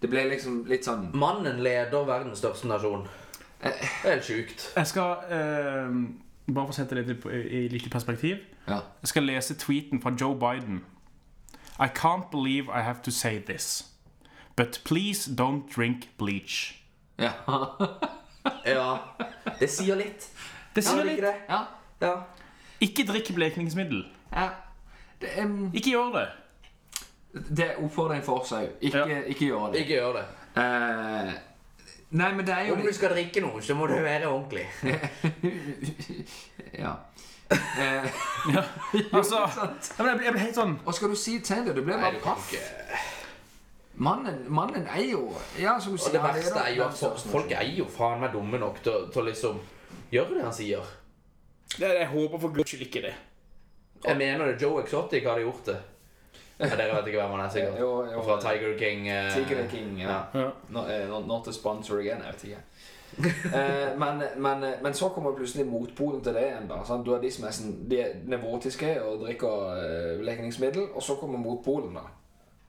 Speaker 3: Det ble liksom litt sånn
Speaker 1: Mannen leder verdens største nasjon. Det er helt sjukt.
Speaker 4: Jeg skal eh, Bare for å sette det litt i, i litt i perspektiv.
Speaker 3: Ja.
Speaker 4: Jeg skal lese tweeten fra Joe Biden. I can't believe I have to say this. But please don't drink bleach.
Speaker 3: Ja.
Speaker 1: Ja. Det sier litt.
Speaker 4: Det
Speaker 1: Ja, det er
Speaker 4: sier litt.
Speaker 1: ikke det?
Speaker 3: ja.
Speaker 1: Ja.
Speaker 4: Ikke drikk blekningsmiddel.
Speaker 3: ja. Det, em,
Speaker 4: Ikke gjør det.
Speaker 3: det er oppfordring for oss òg. Ikke,
Speaker 4: Ja.
Speaker 3: ikke gjør det.
Speaker 1: Ikke gjør det.
Speaker 3: Eh, nei, men det er jo
Speaker 1: Om du skal drikke noe, så må du være ordentlig.
Speaker 3: Ja. Eh,
Speaker 4: Altså,
Speaker 3: sant.
Speaker 4: ja, men jeg ble, jeg ble helt sånn
Speaker 3: hva skal du si til det? Du ble
Speaker 1: Nei,
Speaker 3: bare
Speaker 1: du kan
Speaker 3: paff.
Speaker 1: ikke.
Speaker 3: Mannen, mannen er jo Ja, som du
Speaker 1: Og
Speaker 3: sier.
Speaker 1: det
Speaker 3: han
Speaker 1: verste er jo
Speaker 3: den
Speaker 1: at folk,
Speaker 3: største
Speaker 1: folk
Speaker 3: nasjonen.
Speaker 1: er jo faen meg dumme nok til å- til å liksom gjøre det han sier.
Speaker 4: det, Jeg håper for guds skyld ikke det.
Speaker 1: Jeg mener det. Joe Exotic hadde gjort det. Ja, dere vet ikke hvem han er, sikkert.
Speaker 3: Jo, jo,
Speaker 1: Fra Tiger King. eh,
Speaker 3: Tiger King, ja.
Speaker 4: Ja.
Speaker 3: Not, eh, not, not a sponsor again, jeg vet ikke. Eh, men, men, men så kommer plutselig motpolen til det igjen. da sant? Du har de som er, sånn, de er nevrotiske og drikker eh, lekningsmiddel, og så kommer motpolen. da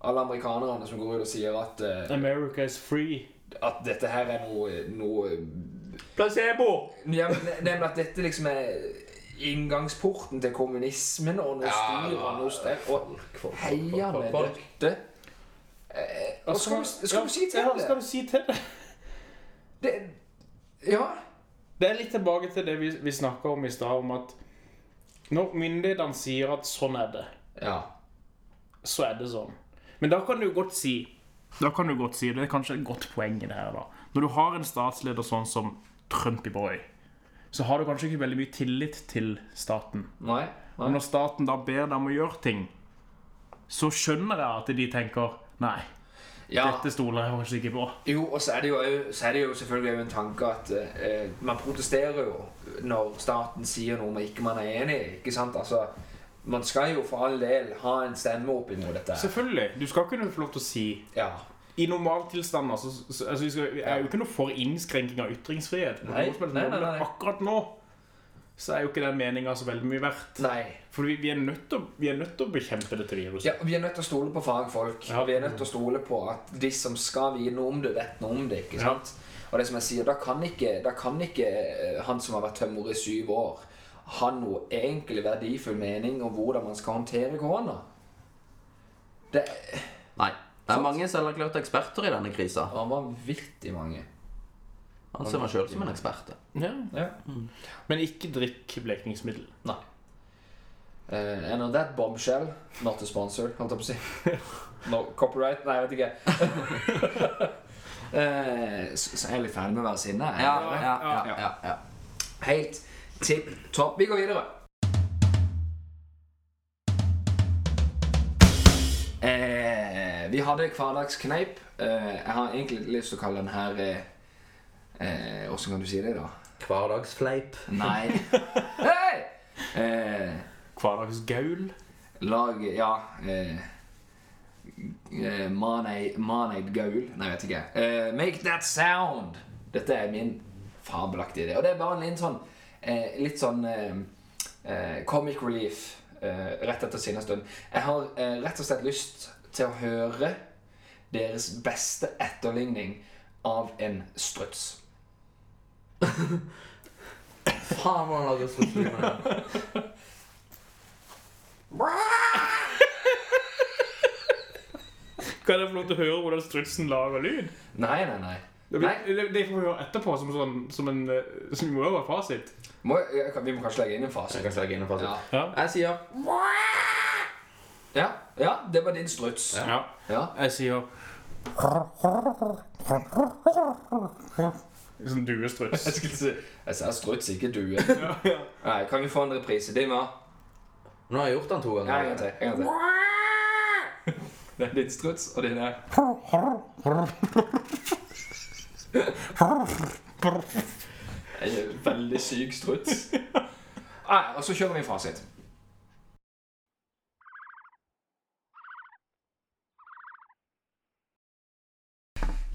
Speaker 3: Alle amerikanerne som går ut og sier at, eh,
Speaker 4: America is free.
Speaker 3: at dette her er noe, noe
Speaker 1: Placebo!
Speaker 3: ja, men det- Nemlig at dette liksom er inngangsporten til kommunismen og noe
Speaker 1: Ja,
Speaker 3: styr og noe stell. Og
Speaker 1: Folk, folk,
Speaker 3: heier
Speaker 1: folk,
Speaker 3: med
Speaker 1: folk, folk.
Speaker 3: dette. Eh, hva skal du- skal du si til
Speaker 4: Altså, Ja, hva
Speaker 3: det?
Speaker 4: skal du si til det?
Speaker 3: det? Ja.
Speaker 4: Det er litt tilbake til det vi, vi snakka om i stad, om at når myndighetene sier at sånn er det,
Speaker 3: ja.
Speaker 4: så er det sånn. Men da kan du jo godt si Da kan du godt si, Det er kanskje et godt poeng i det her, da. Når du har en statsleder sånn som Trump i Boy, så har du kanskje ikke veldig mye tillit til staten.
Speaker 3: Nei.
Speaker 4: Og når staten da ber deg om å gjøre ting, så skjønner jeg at de tenker Nei,
Speaker 3: Ja,
Speaker 4: dette stoler jeg kanskje ikke på.
Speaker 3: jo, og så er det jo, au- så er det jo selvfølgelig au en tanke at eh, man protesterer jo når staten sier noe man ikke man er enig i. ikke sant? Altså, man skal jo for all del ha en stemme opp imot dette. her.
Speaker 4: Selvfølgelig. Du skal kunne få lov til å si
Speaker 3: Ja.
Speaker 4: I normaltilstanden altså, så- altså, vi skal, Jeg er jo ikke noe for innskrenking av ytringsfrihet. på
Speaker 3: Nei,
Speaker 4: noen som helst
Speaker 3: nei, nei,
Speaker 4: måte, men
Speaker 3: nei.
Speaker 4: Akkurat nå så er jo ikke den meninga så veldig mye verdt.
Speaker 3: Nei.
Speaker 4: For vi, vi, er nødt til, å- vi er nødt til å bekjempe dette viruset.
Speaker 3: Ja, og Vi er nødt til å stole på fagfolk.
Speaker 4: Ja.
Speaker 3: og Vi er nødt til å stole på at de som skal vite noe om det, vet noe om det. ikke sant? Og det som jeg sier, Da kan ikke, da kan ikke eh, han som har vært tømrer i syv år, ha noe egentlig verdifull mening om hvordan man skal håndtere korona. Det
Speaker 1: Nei. Det er mange selverklærte eksperter i denne krisa.
Speaker 3: Han var vanvittig mange.
Speaker 1: Han ser meg sjøl som en ekspert. jeg.
Speaker 4: Ja.
Speaker 3: Ja.
Speaker 4: Men ikke drikk blekningsmiddel.
Speaker 3: Nei. Uh, and on that bombshell, not a sponsor, holdt jeg på å si. No copyright? Nei, jeg vet ikke. Eh, så, så er jeg litt ferdig med å være sinna. jeg.
Speaker 1: ja, ja, ja.
Speaker 3: Helt tipp topp. Vi går videre. Eh, vi hadde hverdagskneip. Eh, jeg har egentlig lyst til å kalle den her eh, eh, Åssen kan du si det, da?
Speaker 1: Hverdagsfleip.
Speaker 3: Nei. Hei! Eh,
Speaker 4: Hverdagsgaul.
Speaker 3: lag Ja. Eh, eh, Maneid Maneid Gaul. Nei, jeg vet ikke. Eh, make that sound! Dette er min fabelaktige idé. Og det er bare en litt sånn, eh, litt sånn eh, eh, comic relief eh, rett etter sinnestund. Jeg har eh, rett og slett lyst til å høre deres beste etterligning av en struts.
Speaker 1: Faen, hva han lager så fint med det.
Speaker 4: Kan jeg få lov til å høre hvordan strutsen lager lyd?
Speaker 3: Nei, nei, nei.
Speaker 4: Det,
Speaker 3: Nei.
Speaker 4: blir, det, det får vi høre etterpå som, sånn, som en eh, som jo også var fasit.
Speaker 3: Må, jeg kan- vi må kanskje legge inn en fase.
Speaker 1: Jeg kan slage inn og passe.
Speaker 3: Ja.
Speaker 1: Jeg sier
Speaker 3: Ja, ja, det var din struts.
Speaker 4: Ja.
Speaker 3: Ja.
Speaker 4: Jeg sier Sånn duestruts.
Speaker 3: Jeg skulle si Jeg sa struts, ikke due. Nei, kan vi få en reprise? Dima?
Speaker 1: Nå har jeg gjort den to
Speaker 3: Ja, en gang
Speaker 1: ganger.
Speaker 3: til. En gang til. Det er din struts, og din er Jeg er en Veldig syk struts. Nei, og så kjører vi en fasit.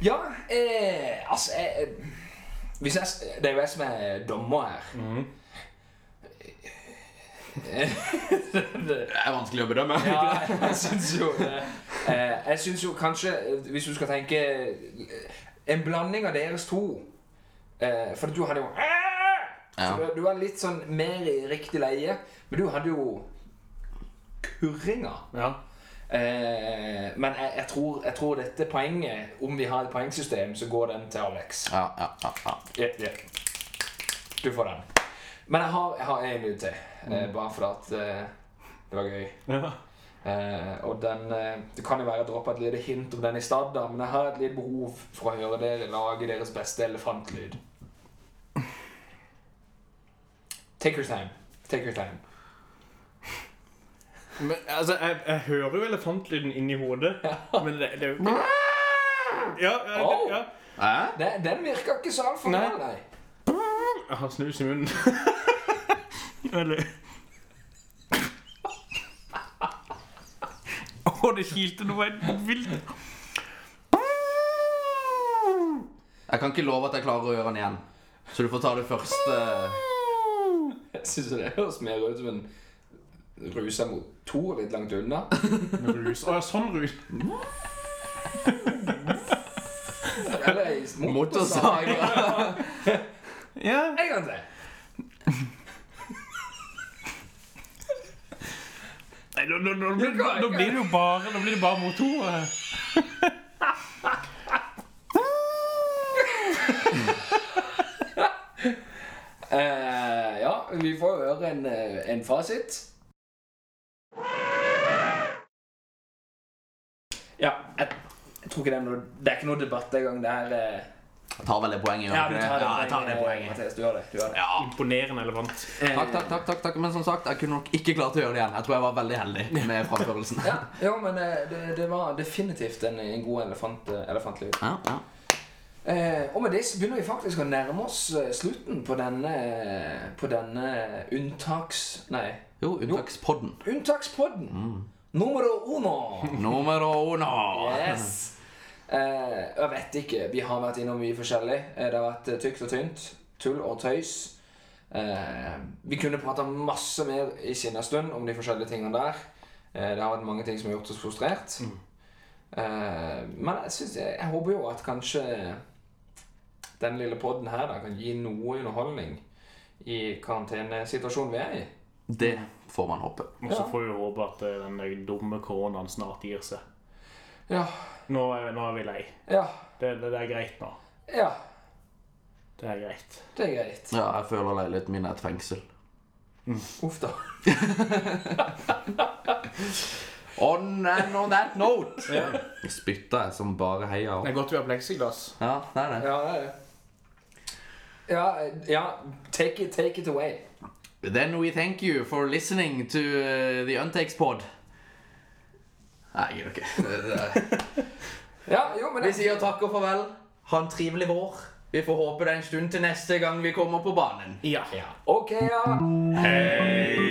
Speaker 3: Ja, eh, altså eh, hvis jeg, s- Det er jo jeg som er dommer her.
Speaker 4: Mhm.
Speaker 1: Det er vanskelig å bedømme.
Speaker 3: Ja, jeg syns jo det. Eh, Jeg syns jo kanskje, eh, hvis du skal tenke eh, En blanding av deres to eh, For du hadde jo
Speaker 1: Ja.
Speaker 3: Så du, du var litt sånn mer i riktig leie, men du hadde jo kurringa.
Speaker 4: Ja.
Speaker 3: Eh, men jeg, jeg, tror, jeg tror dette poenget, om vi har et poengsystem, så går den til Alex.
Speaker 1: Ja, ja, ja, ja.
Speaker 3: Ja, ja. Du får den. Men jeg har, jeg har en ut til, eh, bare fordi at eh, det var gøy.
Speaker 4: Ja.
Speaker 3: Eh, og den, eh, Det kan jo være jeg droppa et lite hint om den i stad, da, men jeg har et lite behov for å høre dere lage deres beste elefantlyd. Take your time. Take your time.
Speaker 4: Men, altså, jeg, jeg hører jo elefantlyden inni hodet, men det, det er jo ikke ja, ja, det, ja.
Speaker 1: Hæ?
Speaker 3: Den, den virka ikke så altfor
Speaker 4: Nei.
Speaker 3: bra, nei.
Speaker 4: Jeg har snus i munnen. Eller Å, det kilte noe helt vilt.
Speaker 1: Jeg kan ikke love at jeg klarer å gjøre den igjen. Så du får ta det første
Speaker 3: Jeg syns det høres mer ut som en rusa motor litt langt unna.
Speaker 4: Rus. Å ja, sånn rus.
Speaker 3: Eller ei motorsag.
Speaker 1: motorsaga.
Speaker 4: Ja.
Speaker 3: En gang til.
Speaker 4: Nei, nå, nå, nå, blir, nå blir det jo bare, nå blir det bare motorer.
Speaker 3: Eh, ja, vi får høre en, eh, en fasit. Ja, jeg, jeg tror ikke det er noe Det er ikke noe debatt engang. Det er eh,
Speaker 1: Jeg tar vel det poenget. gjør
Speaker 3: Ja,
Speaker 1: jeg
Speaker 3: du tar
Speaker 1: ikke
Speaker 3: det, eh,
Speaker 1: Ja, jeg tar det poenget.
Speaker 3: Mathias, du gjør det. Du gjør det.
Speaker 1: Ja.
Speaker 4: Imponerende elefant.
Speaker 1: Takk, takk, takk, takk, takk. Men som sagt, jeg kunne nok ikke klart å gjøre det igjen. Jeg tror jeg var veldig heldig med framførelsen.
Speaker 3: Ja, jo, men eh, det, det var definitivt en, en god elefant, eh, elefantlyd.
Speaker 1: Ja, ja.
Speaker 3: Eh, og med det så begynner vi faktisk å nærme oss eh, slutten på denne, på denne unntaks... Nei,
Speaker 1: Jo, unntakspodden.
Speaker 3: unntakspodden.
Speaker 1: Mm.
Speaker 3: Numero uno.
Speaker 1: Numero uno.
Speaker 3: Yes. Eh, jeg vet ikke. Vi har vært innom mye forskjellig. Eh, Det har vært eh, tykt og tynt. Tull og tøys. Eh, vi kunne prata masse mer i sinna stund om de forskjellige tingene der. Eh, det har vært mange ting som har gjort oss frustrert. Eh, men jeg, synes, jeg, jeg håper jo at kanskje den lille podden her da, kan gi noe underholdning i karantenesituasjonen vi er i.
Speaker 1: Det får man håpe.
Speaker 4: Og så
Speaker 3: Ja.
Speaker 4: får vi håpe at eh, den der dumme koronaen snart gir seg.
Speaker 3: Ja.
Speaker 4: Nå er, nå er vi lei.
Speaker 3: Ja.
Speaker 4: Det, det, det er greit nå.
Speaker 3: Ja.
Speaker 4: Det er greit.
Speaker 3: Det er greit.
Speaker 1: Ja, jeg føler leiligheten min er et fengsel.
Speaker 3: Uff da.
Speaker 1: On and on that note Spytta jeg som bare heia opp.
Speaker 4: Det er godt vi har pleksiglass.
Speaker 1: Ja, det er det.
Speaker 3: Ja, det er det. Ja, ja take, it, take it away.
Speaker 1: Then we thank you for listening to uh, the Untakes pod. Nei, jeg gidder ikke. Det- det-
Speaker 3: Ja, jo, men
Speaker 1: Vi sier takk og farvel. Ha en trivelig vår. Vi får håpe det er en stund til neste gang vi kommer på banen.
Speaker 4: Ja.
Speaker 3: OK, ja.
Speaker 1: Hei!